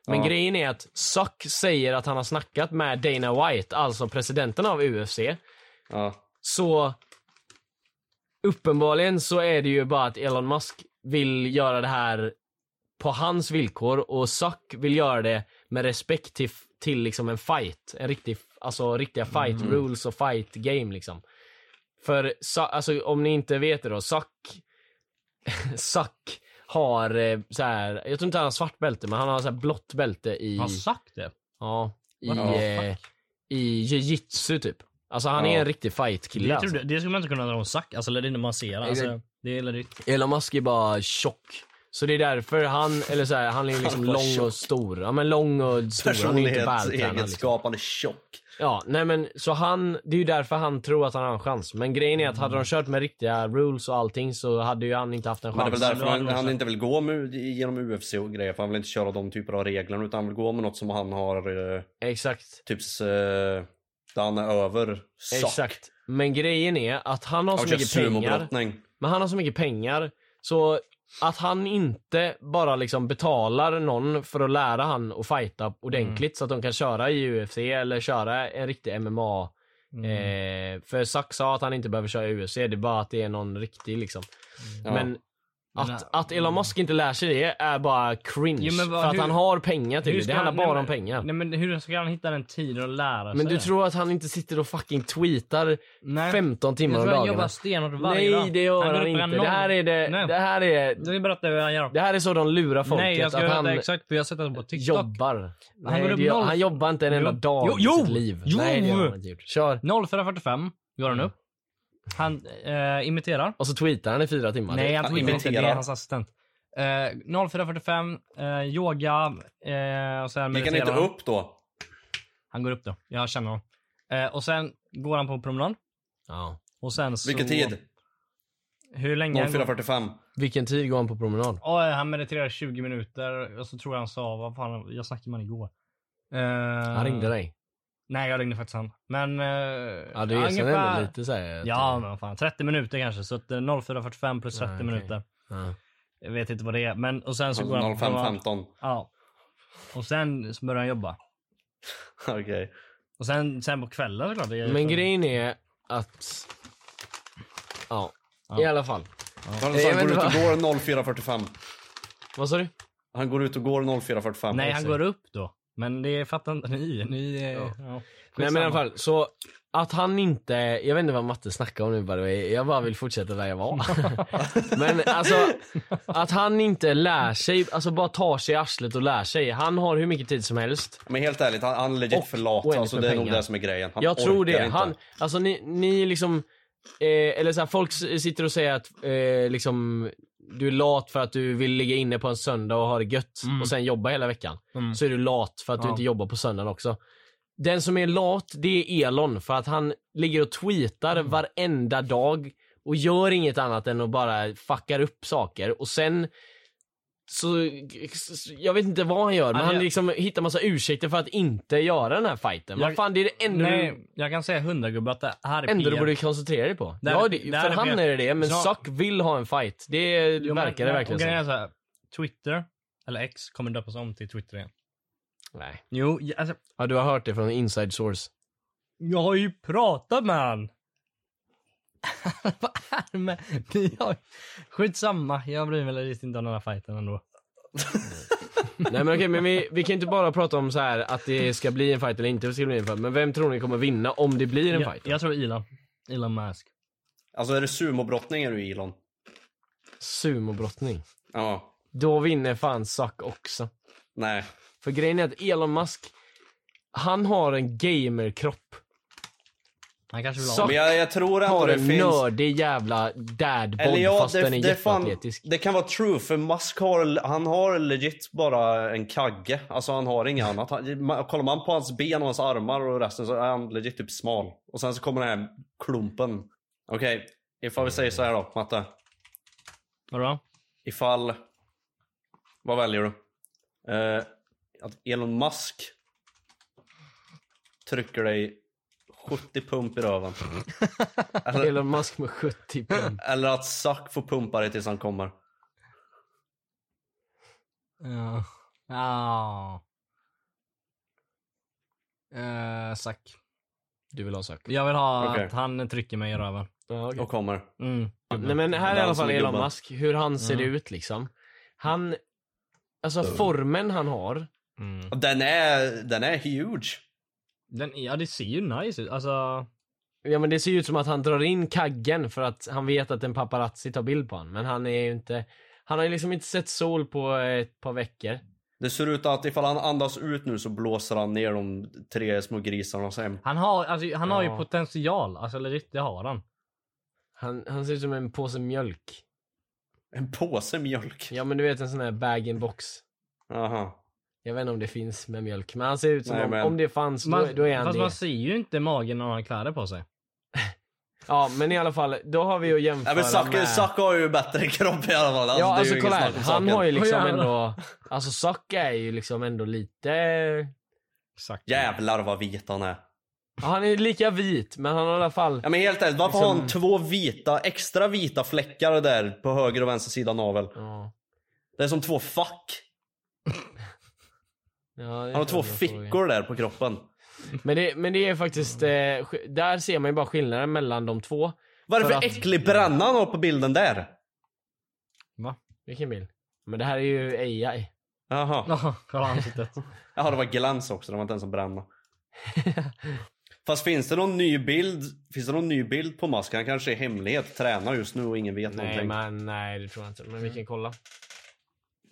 S1: Men
S3: Ja.
S1: grejen är att Suck säger att han har snackat med Dana White, alltså presidenten av UFC.
S3: ja.
S1: Så uppenbarligen så är det ju bara att Elon Musk vill göra det här på hans villkor och Zuck vill göra det med respekt till, till liksom en fight. En riktig, alltså riktiga fight
S2: Mm.
S1: rules och fight game liksom. För Zuck, alltså om ni inte vet det då, Zuck, Zuck har eh, så här, jag tror inte han har svart bälte men han har så här blått bälte i...
S2: Har sagt det?
S1: Ja, i,
S2: What the
S1: eh, i jiu-jitsu typ. Alltså han
S3: Ja.
S1: är en riktig fight-kille
S2: Jag tror
S1: alltså.
S2: det, det skulle man inte kunna dra om sack, alltså eller det är när man ser det. Alltså,
S1: Exakt.
S2: det är legit.
S1: Elon Musk är bara tjock. Så det är därför han, eller så här, han är ju liksom
S3: bara
S1: lång och
S3: tjock.
S1: stor. Ja men lång och stor. Han är ju inte vältränad. Liksom.
S3: Personlighetsegenskap, han är tjock.
S1: Ja, nej men så han, det är ju därför han tror att han har en chans. Men grejen är att hade de kört med riktiga rules och allting så hade ju han inte haft en
S3: Men det är
S1: chans.
S3: väl
S2: Chansen
S3: därför
S2: då hade
S3: han,
S2: de
S3: han
S2: sett.
S3: inte vill gå med, genom UFC och grejer, för han vill inte köra de typer av reglerna utan han vill gå med något som han har eh,
S1: Exakt.
S3: typ eh, där han är över. Suck.
S1: Exakt. Men grejen är att han har
S3: Han
S1: så
S3: kör
S1: mycket pengar.
S3: sumobrottning.
S1: Men han har så mycket pengar så att han inte bara liksom betalar någon för att lära han att fighta
S2: Mm.
S1: ordentligt så att de kan köra i UFC eller köra en riktig MMA.
S2: Mm.
S1: Eh, för Zack sa att han inte behöver köra i UFC, det är bara att det är någon riktig liksom.
S3: Ja.
S1: Men
S2: Mm. Men,
S1: att,
S2: äh,
S1: att Elon Musk inte lär sig det är bara cringe.
S2: Jo, men vad-
S1: för att
S2: hur-
S1: han har pengar till
S2: Hur
S1: det.
S2: ska
S1: Det handlar
S2: han- nej,
S1: bara
S2: men-
S1: om pengar.
S2: Nej men hur ska han hitta den tiden att lära sig
S1: men du
S2: det?
S1: tror att han inte sitter och fucking tweetar
S2: Nej.
S1: 15
S2: Jag
S1: timmar om
S2: tror han
S1: dagarna?
S2: jobbar stenhårt varje dag.
S1: Nej det gör han,
S2: går upp
S1: inte.
S2: klockan
S1: Det
S2: noll.
S1: här är det,
S2: Nej.
S1: det här är
S2: Jag ska berätta hur han gör.
S1: Det här är så de lurar folket,
S2: Nej jag ska
S1: att
S2: berätta
S1: han
S2: exakt för jag har sett det på TikTok.
S1: jobbar.
S2: går
S1: Nej,
S2: upp
S1: det gör,
S2: noll-
S1: han jobbar inte en enda
S2: Jo.
S1: dag
S2: Jo,
S1: i
S2: jo!
S1: sitt liv.
S2: Jo!
S1: Nej, det gör han inte gjort. Kör.
S2: 04.45 går han upp. Han eh, imiterar.
S1: Och så tweetar han i fyra timmar.
S2: Nej han
S3: Han
S2: tweetar inte, det är
S3: imiterar.
S2: hans assistent. Eh, 04.45, eh, yoga eh, och sen
S3: Gick han
S2: mediterar
S3: inte upp då?
S2: Han går upp då. Jag känner honom. Eh, och sen går han på promenad.
S1: Ja.
S2: Och sen så...
S3: Vilken tid?
S2: Hur länge han går-
S3: 04.45.
S1: Vilken tid går han på promenad?
S2: Ja, han mediterar 20 minuter och så tror jag han sa, vad fan, jag snackade med honom igår. Eh,
S1: Han ringde dig.
S2: Nej, jag ringde faktiskt han. Men... eh,
S1: Ja, du erkänner ändå lite så här, typ. att-
S2: Ja, men vad fan. 30 minuter kanske. Så att eh, 04.45 plus 30
S1: okej.
S2: minuter.
S1: Ja.
S2: Jag vet inte vad det är. Men och
S3: Alltså,
S2: sen så går han... på promenad.
S3: 05.15.
S2: Ja. Och sen så börjar han jobba.
S3: Okej.
S2: Och sen, sen på kvällen såklart. det är-
S1: Men grejen är att... Ja. I alla fall.
S3: Han,
S1: Jag
S3: han
S1: vet
S3: går ut
S1: inte
S3: och går 04.45.
S1: Vad sa du?
S3: Han går ut och går 04.45.
S2: Nej, han går upp då. Men det fattar inte ni. ni eh, ja.
S1: Nej men i alla fall, så att han inte, jag vet inte vad Matte snackar om nu by the way. jag bara vill fortsätta där jag var. men alltså, att han inte lär sig, alltså bara tar sig i arslet och lär sig. Han har hur mycket tid som helst.
S3: Men helt ärligt, han, han är legit
S1: Och
S3: för lat.
S1: oändligt
S3: Alltså,
S1: med
S3: det är nog
S1: pengar.
S3: det som är grejen. Han
S1: jag tror
S3: orkar
S1: det.
S3: Inte.
S1: Han, alltså ni, ni liksom, eh, eller så här, folk s- sitter och säger att eh, liksom, du är lat för att du vill ligga inne på en söndag och ha det gött och sen jobba hela veckan. Så är du lat för att du
S2: Mm. Ja.
S1: inte jobbar på söndagen också. Den som är lat, det är Elon för att han ligger och tweetar
S2: Mm.
S1: varenda dag och gör inget annat än att bara fuckar upp saker och sen så, jag vet inte vad han gör, men
S2: Ja,
S1: han
S2: jag-
S1: liksom hittar massa ursäkter för att inte göra den här fighten. Vad
S2: Jag-
S1: fan, det är det enda du
S2: Nej, jag kan säga hundragubbe att det här är
S1: ändå du
S2: PR.
S1: borde koncentrera dig på.
S2: Där-
S1: ja, det,
S2: där
S1: för
S2: är
S1: han
S2: Peter.
S1: är det, men
S2: Så-
S1: Zuck vill ha en fight. Det
S2: Jo, men-
S1: verkar det verkligen
S2: och grejen är
S1: som.
S2: så här, Twitter, eller X, kommer döpas om till Twitter igen.
S1: Nej.
S2: Jo, jag, alltså,
S1: Ja, du har hört det från inside source.
S2: jag har ju pratat med han. Vad är det med? Ni har- Skitsamma, jag bryr mig lite inte om den här fighten ändå.
S1: Nej men okej, men vi, vi kan inte bara prata om så här att det ska bli en fight eller inte ska bli en fight. Men vem tror ni kommer vinna om det blir en
S2: Jag,
S1: fight?
S2: jag tror Elon. Elon Musk.
S3: Alltså är det sumobrottning är du Elon?
S1: Sumobrottning.
S3: Ja.
S1: Då vinner fan Zuck också.
S3: Nej.
S1: För grejen är att Elon Musk, han har en gamerkropp.
S2: Han kanske vill ha
S1: Så-
S3: Men jag, jag tror ändå
S1: Har
S3: det
S1: en
S3: finns...
S1: nördig jävla dadbod
S3: Eller ja,
S1: fast
S3: det,
S1: den är
S3: det, fan,
S1: jätteatletisk.
S3: det kan vara true för Musk har, han har legit bara en kagge. Alltså han har inget annat. Han, man, kollar man på hans ben och hans armar och resten så är han legit typ smal. Och sen så kommer den här klumpen. Okej, ifall vi säger så här då, Matte.
S2: Vadå?
S3: Ifall... Vad väljer du? Eh, att Elon Musk trycker dig 70 pump i röven. eller,
S1: Elon Musk med 70 pund.
S3: eller att Zack får pumpa dig tills han kommer.
S2: Ja. Ja. Eh, Zack.
S1: Du vill ha Zuck?
S2: Jag vill ha
S3: Okej.
S2: att han trycker mig i röven.
S1: Ja, okej.
S3: Och kommer.
S2: Mm.
S1: Nej men här är i alla fall
S3: Som
S1: Elon
S3: gubben.
S1: Musk, hur han ser
S2: Mm.
S1: ut liksom. Han, alltså formen han har.
S2: Mm.
S3: Den är, den är huge.
S2: Den, ja det ser ju nice ut. Alltså.
S1: Ja men det ser ju ut som att han drar in kaggen för att han vet att en paparazzi tar bild på honom. Men han är ju inte, han har ju liksom inte sett sol på eh, ett par veckor.
S3: Det ser ut att ifall han andas ut nu så blåser han ner de tre små grisarna sen.
S2: Han har, alltså, han har ju
S1: Ja.
S2: potential. Alltså legit, det har han.
S1: Han, han ser ut som en påse mjölk.
S3: En påse mjölk.
S1: Ja men du vet en sån här bag-in-box.
S3: Aha.
S1: Jag vet inte om det finns med mjölk, men han ser ut som
S3: Nej,
S1: om,
S3: men-
S1: om det fanns, då,
S2: Man,
S1: då är han
S2: fast
S1: det.
S2: man ser ju inte magen när han har kläder på sig.
S1: Ja men i alla fall, då har vi att jämföra
S3: Nej men Zack
S1: med...
S3: Zack har ju bättre kropp i alla fall. Alltså,
S1: ja
S3: det är
S1: alltså
S3: ju
S1: kolla
S3: inget
S1: här,
S3: snack om
S1: han
S3: saken.
S1: har ju liksom
S2: Åh, jävlar.
S1: ändå, alltså Zack är ju liksom ändå lite,
S2: Exakt.
S3: Jävlar vad vit han är.
S1: ja, han är lika vit men han har i alla fall,
S3: Ja men helt ärligt, varför har
S1: Liksom-
S3: han två vita, extra vita fläckar där på höger och vänster sida navel?
S1: ja,
S3: Det är som två fack.
S1: ja, det är
S3: Han
S1: så
S3: har två
S1: jag frågar.
S3: fickor där på kroppen.
S1: Men det, men det är faktiskt, eh, sk- där ser man ju bara skillnaden mellan de två.
S3: Vad är det
S1: För
S3: för
S1: att-
S3: äcklig bränna han har på bilden där?
S2: Va?
S1: Vilken bild? Men det här är ju AI.
S3: Jaha.
S2: Ja, kolla ansiktet.
S3: Jaha, det var glans också. Det var inte ens en bränna. Fast finns det någon ny bild? Finns det någon ny bild på Musk? Han kanske i hemlighet tränar just nu och ingen vet
S1: Nej
S3: någonting.
S1: men nej det tror jag inte, men vi kan kolla.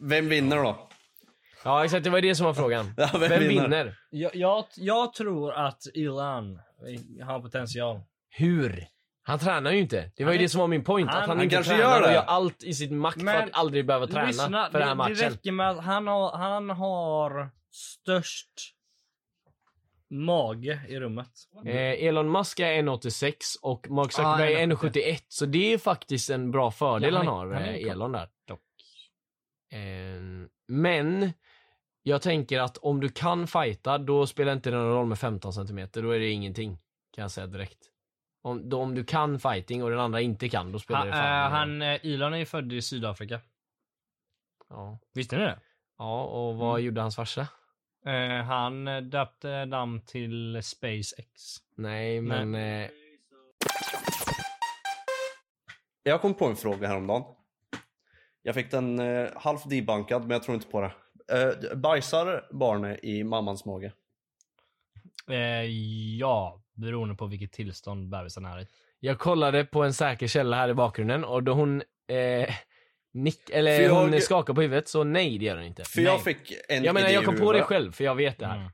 S3: Vem vinner då?
S1: Ja exakt, det var det som var frågan.
S3: Ja, vem
S1: Vem
S3: vinner?
S1: vinner?
S2: jag, jag, jag tror att Elon har potential.
S1: Hur? Han tränar ju inte. Det var
S2: Han är-
S1: ju det som var min point.
S2: han-
S1: att han,
S2: han
S1: inte
S3: kanske
S1: tränar
S3: gör det.
S1: och gör allt i sin makt för
S2: Men
S1: att aldrig behöva träna
S2: Lyssna,
S1: för den här
S2: det, det
S1: matchen.
S2: räcker med att han har, han har störst mage i rummet. Mm.
S1: Eh, Elon Musk är 1,86 och Mark Zuckerberg
S2: Ah,
S1: är
S2: 1,70.
S1: 1,71 så det är faktiskt en bra fördel
S2: Ja,
S1: han,
S2: han är-
S1: har,
S2: han är
S1: eh,
S2: klok.
S1: Elon där. Eh, men jag tänker att om du kan fighta då spelar inte det någon roll med 15 cm, då är det ingenting. Kan jag säga direkt. Om, då, om du kan fighting och den andra inte kan, då spelar
S2: Han,
S1: det
S2: eh,
S1: fan ingen roll.
S2: han, eh, Elon är ju född i Sydafrika.
S1: ja.
S2: Visste ni det?
S1: ja, och vad
S2: Mm.
S1: gjorde hans farsa?
S2: Eh, han eh, döpte namn till SpaceX.
S1: Nej, men... Eh,
S3: Jag kom på en fråga häromdagen. Jag fick den eh, halvt debankad, men jag tror inte på det. Eh, bajsar barnet i mammans mage?
S2: Eh, ja, beroende på vilket tillstånd bebisen är i.
S1: Jag kollade på en säker källa här i bakgrunden och då hon eh, nick, eller
S3: För jag-
S1: hon skakar på huvudet så nej det gör hon inte.
S3: För
S1: nej.
S3: jag fick en
S1: jag menar
S3: idé
S1: jag
S3: i
S1: kom på
S3: huvudet.
S1: det själv för jag vet det här.
S2: Mm.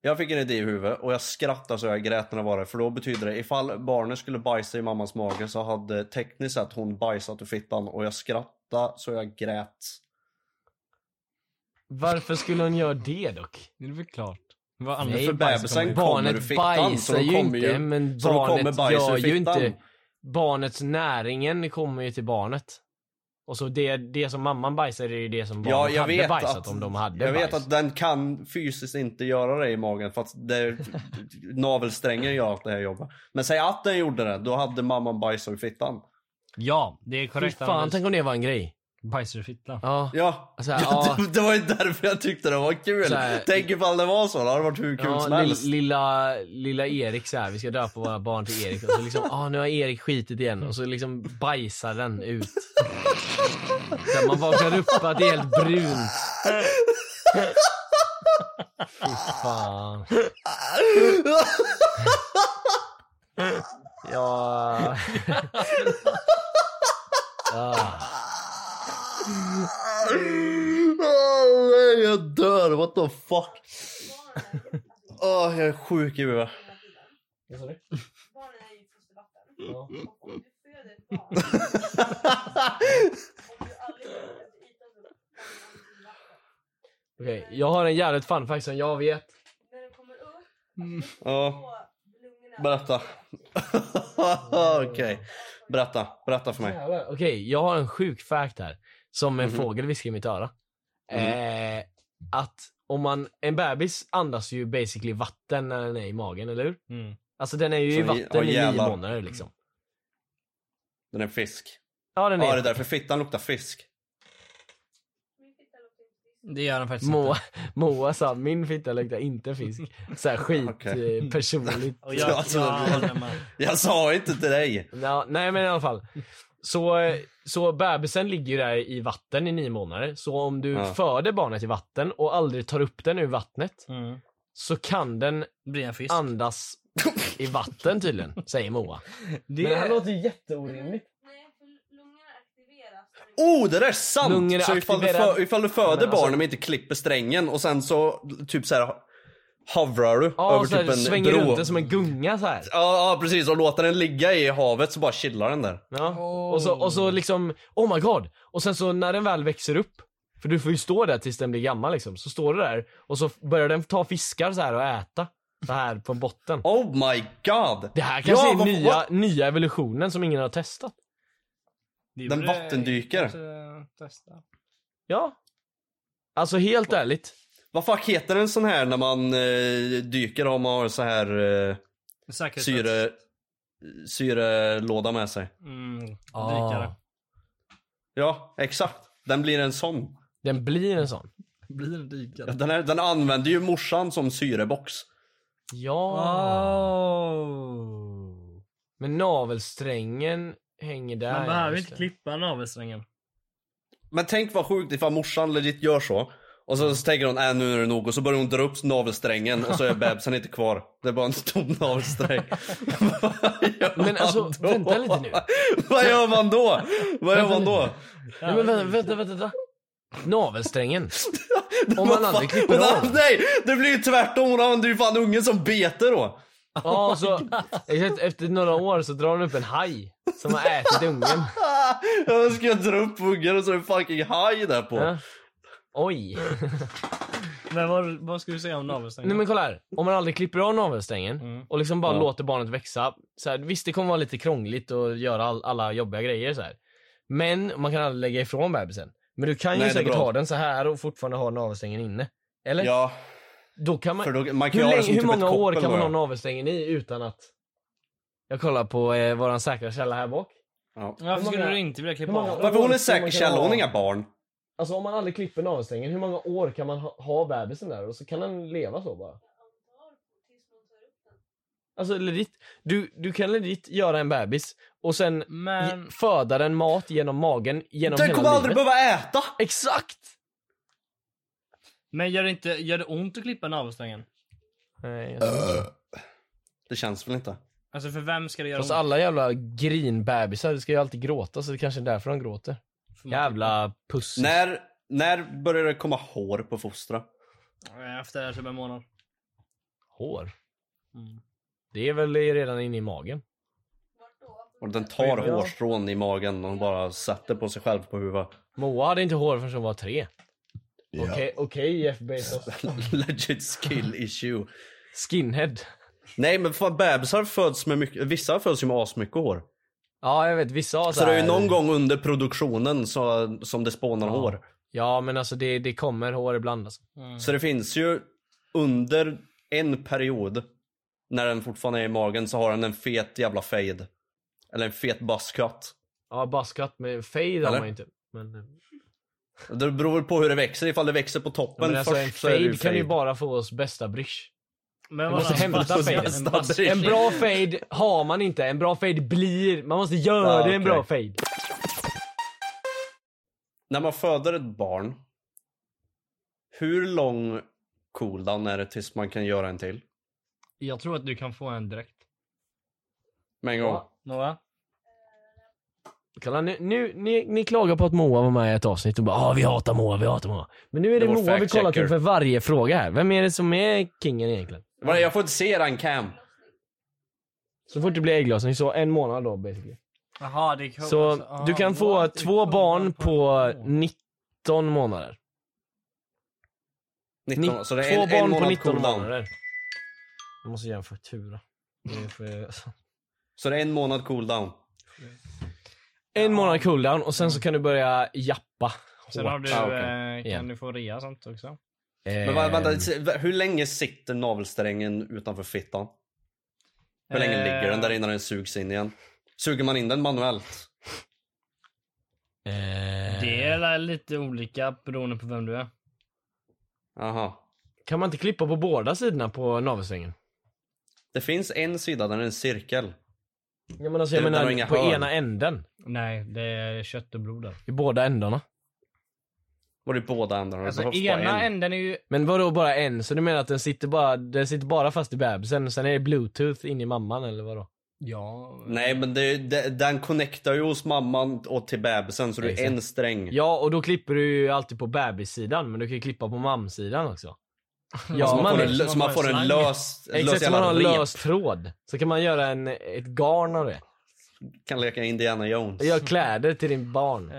S3: Jag fick en idé i huvudet och jag skrattade så jag grät när det var det. För då betyder det ifall barnet skulle bajsa i mammas mage så hade tekniskt sett hon bajsat ur fittan och jag skrattade så jag grät.
S1: Varför skulle hon göra det dock?
S2: Det är väl klart. Vad
S1: Nej,
S3: för
S1: bajs
S3: bebisen
S1: kommer-
S3: kommer ur
S1: Barnet
S3: fittan, så
S1: bajsar
S3: de
S1: ju
S3: kommer
S1: inte
S3: ju-
S1: men
S3: så de kommer
S1: barnet
S3: bajs
S1: gör
S3: ur
S1: ju
S3: fittan.
S1: inte. Barnets näringen kommer ju till barnet. Och så det, det som mamman bajsar är ju det som barnet
S3: Ja, jag
S1: hade
S3: vet
S1: bajsat
S3: att,
S1: om de hade
S3: Jag vet
S1: bajs.
S3: att den kan fysiskt inte göra det i magen för att det, navelsträngen gör allt det här jobbet. Men säg att den gjorde det, då hade mamman bajsat ur fittan.
S2: Ja, det är
S1: Fy
S2: korrekt.
S1: fan, tänk om det var en grej.
S2: Bajsar i fitta.
S1: Ja.
S3: Ja,
S1: Alltså, ja.
S3: det var ju därför jag tyckte det var kul.
S1: Så här-
S3: Tänk ifall det var så, det hade varit hur kul som
S1: Ja,
S3: helst.
S1: li- lilla, lilla Erik så här, vi ska döpa våra barn till Erik och så liksom, ah nu har Erik skitit igen och så liksom bajsar den ut. Så här, man vaknar upp att det är helt brunt. Fy fan. Ja.
S3: Åh, nej, jag dör, what the fuck. Åh, jag är sjuk i huvudet.
S1: Vad sa du?
S4: Barnen är ju i fostervatten.
S1: Ja.
S4: Och om du föder ett barn, om du aldrig kommer upp till ytan typ. så kommer den i vatten.
S1: Okej, jag har en jävligt fun fact som jag vet.
S4: När den kommer upp
S3: Ja,
S4: på lungorna.
S3: berätta. Okej, berätta. Berätta för mig.
S1: Jävlar, Okej, jag har en sjuk fact här. Som en
S3: Mhm.
S1: fågel viskar i mitt öra. Eh, att om man, en bebis andas ju basically vatten när den är i magen, eller hur?
S2: Mm.
S1: Alltså den är ju
S3: Så
S1: i
S3: vi-
S1: vatten
S3: ja,
S1: i nio
S3: jävlar.
S1: månader liksom.
S3: Den är fisk.
S1: Ja den
S3: Ja, det
S1: är
S3: är därför fittan luktar fisk.
S2: Det gör den faktiskt
S1: Moa,
S2: inte.
S1: Moa sa min fitta luktar inte fisk. Såhär skit
S3: Okej.
S1: eh, personligt.
S2: Och
S3: Ja,
S2: jag,
S3: alltså,
S2: jag
S3: det-
S2: håller med.
S3: Jag sa inte till dig.
S1: Ja, nej men i alla fall. Så, eh, så bebisen ligger ju där i vatten i nio månader. Så om du
S3: Ja.
S1: föder barnet i vatten och aldrig tar upp den ur vattnet
S2: Mm.
S1: så kan den
S2: Blir en fisk.
S1: andas i vatten tydligen, säger Moa.
S2: det...
S1: låter ju jätteorimligt.
S4: Nej, för lungorna aktiveras. när den-
S3: Oh, det där är sant!
S1: Lungorna
S3: så ifall du,
S1: aktiverar-
S3: fö- ifall du föder
S1: Ja, men
S3: barnen
S1: alltså-
S3: men inte klipper strängen och sen så typ så här hovrar du
S1: Ja,
S3: över
S1: och så
S3: typ
S1: här,
S3: en
S1: svänger
S3: bro.
S1: runt den som en gunga så här.
S3: Ja, ja, precis. Och låter den ligga i havet så bara chillar den där.
S1: Ja. Och, så, och så liksom, oh my god. Och sen så när den väl växer upp, för du får ju stå där tills den blir gammal liksom. Så står du där och så börjar den ta fiskar så här och äta. Så här på botten.
S3: Oh my god!
S1: Det här kanske är
S3: vad-
S1: nya,
S3: what?
S1: nya evolutionen som ingen har testat.
S2: Det
S3: Den
S2: borde jag
S3: vattendyker.
S2: inte Testa.
S1: Ja. Alltså helt ärligt.
S3: Vad fuck heter en sån här när man eh, dyker om man har så här eh,
S2: Säkerhet.
S3: syre... Syrelåda med sig.
S2: Mm.
S1: Ah.
S2: Dykare.
S3: Ja, exakt. Den blir en sån.
S1: Den blir en sån.
S2: Blir en
S3: Ja,
S2: dykare.
S3: Den, är, den använder ju morsan som syrebox.
S1: Ja.
S2: Oh.
S1: Men navelsträngen hänger där.
S2: Man
S1: ja,
S2: behöver
S1: just
S2: inte
S1: det.
S2: klippa navelsträngen.
S3: Men tänk vad sjukt ifall morsan legit gör så. Och så, så tänker hon äh, nu är det nog och så börjar hon dra upp navelsträngen och så är bebisen inte kvar. Det är bara en tom navelsträng. Vad gör
S1: Men
S3: man
S1: alltså,
S3: då?
S1: vänta lite nu.
S3: vad gör man då? Vad gör man då?
S1: Nej, men vänta, vänta, vänta. vänta. Navelsträngen. Om
S3: Vad
S1: man
S3: fan?
S1: aldrig
S3: Hon
S1: klipper
S3: an-
S1: av.
S3: Nej! Det blir ju tvärtom. Hon använder ju fan ungen som bete då.
S1: Ja, så exakt, efter några år så drar hon upp en haj som har ätit ungen.
S3: Jag ska dra upp ungen och så är det fucking haj där på.
S1: Ja. Oj.
S2: Men vad, vad ska du säga om navelsträngen?
S1: Nej men kolla här. Om man aldrig klipper av navelsträngen
S2: Mm.
S1: och liksom bara
S3: Ja.
S1: låter barnet växa. Så här, visst det kommer vara lite krångligt och göra all, alla jobbiga grejer så här. Men man kan aldrig lägga ifrån bebisen. Men du kan
S3: Nej,
S1: ju
S3: det är
S1: säkert
S3: bra.
S1: ha den så här och fortfarande ha navelsträngen inne. Eller?
S3: Ja,
S1: Då kan man...
S3: för då, man kan
S1: hur
S3: ju ha det
S1: länge,
S3: som
S1: hur
S3: typ ett
S1: många år
S3: koppel
S1: kan man
S3: då,
S1: ha
S3: ja.
S1: navelsträngen i utan att... Jag kollar på eh, våran säkra källa här bak.
S3: Ja.
S2: Varför
S1: Hur
S2: skulle
S1: många-
S2: du inte vilja klippa
S1: hur många-
S2: av?
S3: Varför hon är
S1: Hur många
S3: säker
S1: kan
S3: källa,
S1: man
S3: hon har
S1: ha?
S3: inga barn.
S1: Alltså om man aldrig klipper navelsträngen, hur många år kan man ha, ha bebisen där och så kan den leva så bara? Alltså legit, du, du kan legit göra en bebis och sen
S2: Men-
S1: ge- föda den mat genom magen genom
S3: Den
S1: hela
S3: kommer aldrig
S1: livet.
S3: behöva äta!
S1: Exakt!
S2: Men gör det, inte, gör det ont att klippa navelsträngen?
S1: Nej, jag
S3: Äh.
S1: tror inte.
S3: Det känns väl inte?
S2: Alltså för vem ska det göra
S1: Fast
S2: ont?
S1: alla jävla grinbebisar, de ska ju alltid gråta så det kanske är därför de gråter.
S2: För man-
S1: Jävla puss.
S3: När, när börjar det komma hår på fostra?
S2: Efter typ en månad.
S1: Hår.
S2: Mm.
S1: Det är väl redan inne i magen.
S3: Och den tar
S1: Ja.
S3: hårstrån i magen och bara sätter på sig själv på huvudet.
S1: Moa hade inte hår förrän hon var tre. Okej, okej Jeff Bezos.
S3: Legit skill issue.
S1: Skinhead.
S3: Nej men fan bebisar föds med mycket, vissa föds ju med asmycket hår.
S1: Ja, jag vet. Vissa har
S3: Så det är ju
S1: här-
S3: någon gång under produktionen så, som det spånar hår.
S1: Ja, men alltså det, det kommer hår ibland alltså.
S3: Så det finns ju under en period när den fortfarande är i magen så har den en fet jävla fade. Eller en fet buzzcut.
S1: Ja, baskat med fade har
S3: Eller?
S1: man ju inte. Men, eh, ja,
S3: Det beror väl på hur det växer. Ifall det växer på toppen
S1: men alltså en
S3: först så är det
S1: fade,
S3: ju
S1: kan ju bara få oss bästa brysch.
S2: Men
S1: Vi måste
S2: vadå?
S1: hämta
S2: Fast-
S1: faden.
S2: en bas-
S1: En bra fade har man inte, en bra fade blir, man måste göra
S3: Ja,
S1: det en
S3: okej.
S1: bra fade.
S3: När man föder ett barn, hur lång cooldown är det tills man kan göra en till?
S2: Jag tror att du kan få en direkt.
S3: Med en gång?
S2: Några?
S1: Kolla, nu, nu, ni, ni klagar på att Moa var med i ett avsnitt och bara ah, vi hatar Moa, vi hatar Moa. Men nu är det
S3: Det är vår
S1: Moa vi kollar till
S3: fact-checker.
S1: för varje fråga här. Vem är det som är kingen egentligen?
S3: Vadå, Jag får inte se den cam.
S1: Så fort det blir ägglossning, så en månad då basically.
S2: Jaha, det är cool.
S1: Så
S2: Alltså,
S1: du
S2: ah,
S1: kan få
S2: what? Det är
S1: två
S2: cool.
S1: barn på
S2: Oh.
S1: 19 månader.
S3: 19, så det
S1: två
S3: är en,
S1: barn
S3: en
S1: på
S3: månad
S1: 19
S3: cooldown.
S1: månader. Jag måste ge en faktura. Det är för-
S3: Så det är en månad cooldown.
S1: En månad cooldown och sen så kan du börja jappa.
S2: Sen
S1: hårt.
S2: har du,
S3: Ah, okej. Eh.
S2: eh, kan
S1: Igen.
S2: du få rea och sånt också.
S3: Men va, vänta,
S1: Ehm,
S3: se, hur länge sitter navelsträngen utanför fittan? Hur länge
S2: Eh.
S3: ligger den där innan den sugs in igen? Suger man in den manuellt?
S1: ehm,
S2: Det är lite olika beroende på vem du är.
S3: Aha.
S1: Kan man inte klippa på båda sidorna på navelsträngen?
S3: Det finns en sida där det är en cirkel.
S1: Ja, men alltså, jag
S3: Det- där har
S1: menar
S3: inga
S1: på
S3: hörn.
S1: ena änden.
S2: Nej, det är kött och blod alltså. där.
S1: I båda ändarna.
S3: Var det båda ändarna? Det
S2: Alltså
S3: behövs bara
S2: ena
S3: en.
S2: änden är ju...
S1: Men vadå bara en? Så du menar att den sitter bara, den sitter bara fast i bebisen, sen är det bluetooth in i mamman eller vadå?
S2: Ja.
S3: Nej men det, det, den connectar ju hos mamman och till bebisen så det är
S1: Exakt.
S3: en sträng.
S1: Ja, och då klipper du ju alltid på bebissidan, men du kan ju klippa på mamsidan också. Ja,
S3: så Alltså, man,
S1: man-
S3: får en, så man får en lös, lös
S1: Exakt som man
S3: jävla
S1: har en
S3: rep.
S1: lös tråd. Så kan man göra en, ett garn av det.
S3: Kan leka Indiana Jones.
S1: Gör kläder till din barn.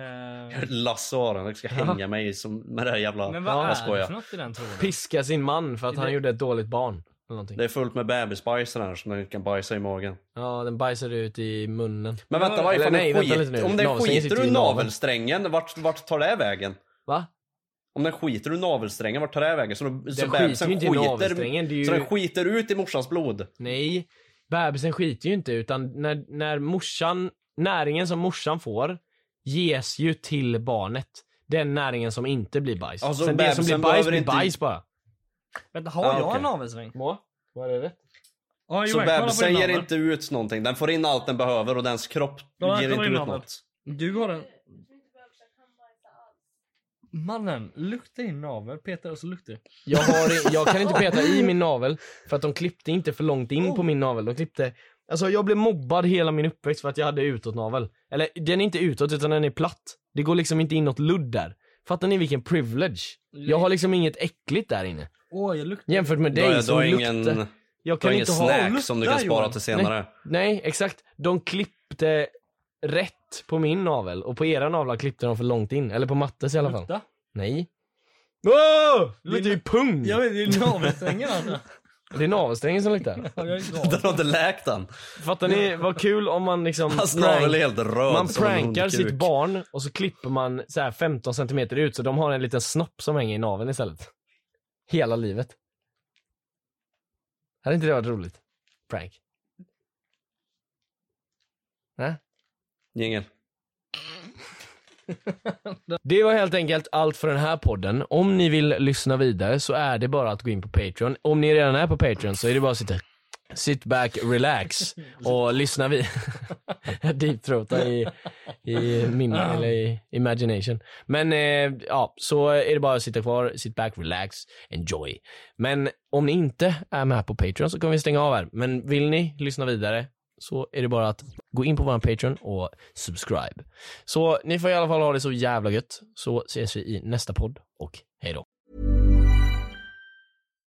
S2: Eh,
S3: Lasse har den, jag ska hänga mig som, med det här jävla...
S2: Men vad
S3: jag
S2: är det
S3: skojar.
S2: för något i den tråden?
S1: Piska sin man för att han gjorde ett dåligt barn. Eller någonting.
S3: Det är fullt med bebisbajs i den här som den kan bajsa i magen.
S1: Ja, den bajsar ut i munnen.
S3: Men vänta, vad
S1: Eller
S3: ifall
S1: nej,
S3: den
S1: vänta lite nu.
S3: skit, om den
S1: Navelsträngen
S3: skiter
S1: sitter i
S3: ur
S1: naveln.
S3: navelsträngen, vart, vart tar det vägen?
S1: Va?
S3: Om den skiter ur navelsträngen, vart tar det vägen? Så, då, så
S1: Den skiter ju inte i navelsträngen, det är ju-
S3: Så den skiter ut i morsans blod?
S1: Nej, bebisen skiter ju inte utan när, när morsan, näringen som morsan får ges ju till barnet. Den näringen som inte blir bajs.
S3: Alltså,
S1: Sen det som
S3: bebisen
S1: blir bajs
S3: behöver
S1: blir
S3: inte-
S1: bajs bara.
S2: Vänta, har
S3: Ah,
S2: jag
S3: okej.
S2: en navelsträng?
S1: Må, vad är det?
S2: Ah,
S3: Så bebisen ger inte ut någonting, den får in allt den behöver och dens kropp
S2: Ja, jag
S3: ger
S2: kollar
S3: inte
S2: in
S3: ut
S2: naveln.
S3: något.
S2: Du har en... Mannen, lukta din navel. Peter alltså, och så luktar.
S1: Jag, har, jag kan inte peta i min navel för att de klippte inte för långt in på min navel. De klippte, alltså jag blev mobbad hela min uppväxt för att jag hade utåtnavel. Eller den är inte utåt utan den är platt. Det går liksom inte in något ludd där. Fattar ni vilken privilege? Jag har liksom inget äckligt där inne.
S2: Åh, jag luktar.
S1: Jämfört med
S3: Du har,
S1: dig
S3: du
S1: som
S3: har ingen,
S1: luktar.
S3: du
S1: Jag
S3: har
S1: kan
S3: ingen
S1: inte ha...
S3: snack som du kan
S2: luktar,
S3: spara
S2: Johan.
S3: till senare.
S1: Nej, exakt. De klippte rätt på min navel och på era navlar klippte de för långt in. Eller på Mattes i alla fall.
S2: Lukta.
S1: Nej. Åh! Det luktar ju pung!
S2: Jag vet, det är navelsträngen alltså.
S1: Det är navelsträngen som luktar.
S2: Ja, jag är
S3: Den
S2: glad.
S3: har inte läkt den. Alltså,
S1: Fattar ni vad kul om man liksom...
S3: Hans
S1: prank-
S3: navel är helt röd
S1: man
S3: som en
S1: prankar
S3: hundkuk.
S1: sitt barn och så klipper man så här 15 centimeter ut så de har en liten snopp som hänger i naveln istället. Hela livet. Hade inte det varit roligt? Prank. Nä?
S3: Jingel.
S1: Det var helt enkelt allt för den här podden. Om ni vill lyssna vidare så är det bara att gå in på Patreon. Om ni redan är på Patreon så är det bara att sitta sit back, relax och lyssna vid. Deepthroata i, i minne eller i imagination. Men eh, ja, så är det bara att sitta kvar, sit back, relax, enjoy. Men om ni inte är med på Patreon så kommer vi stänga av här. Men vill ni lyssna vidare så är det bara att gå in på vår Patreon och subscribe. Så ni får i alla fall ha det så jävla gött. Så ses vi i nästa podd och hej då.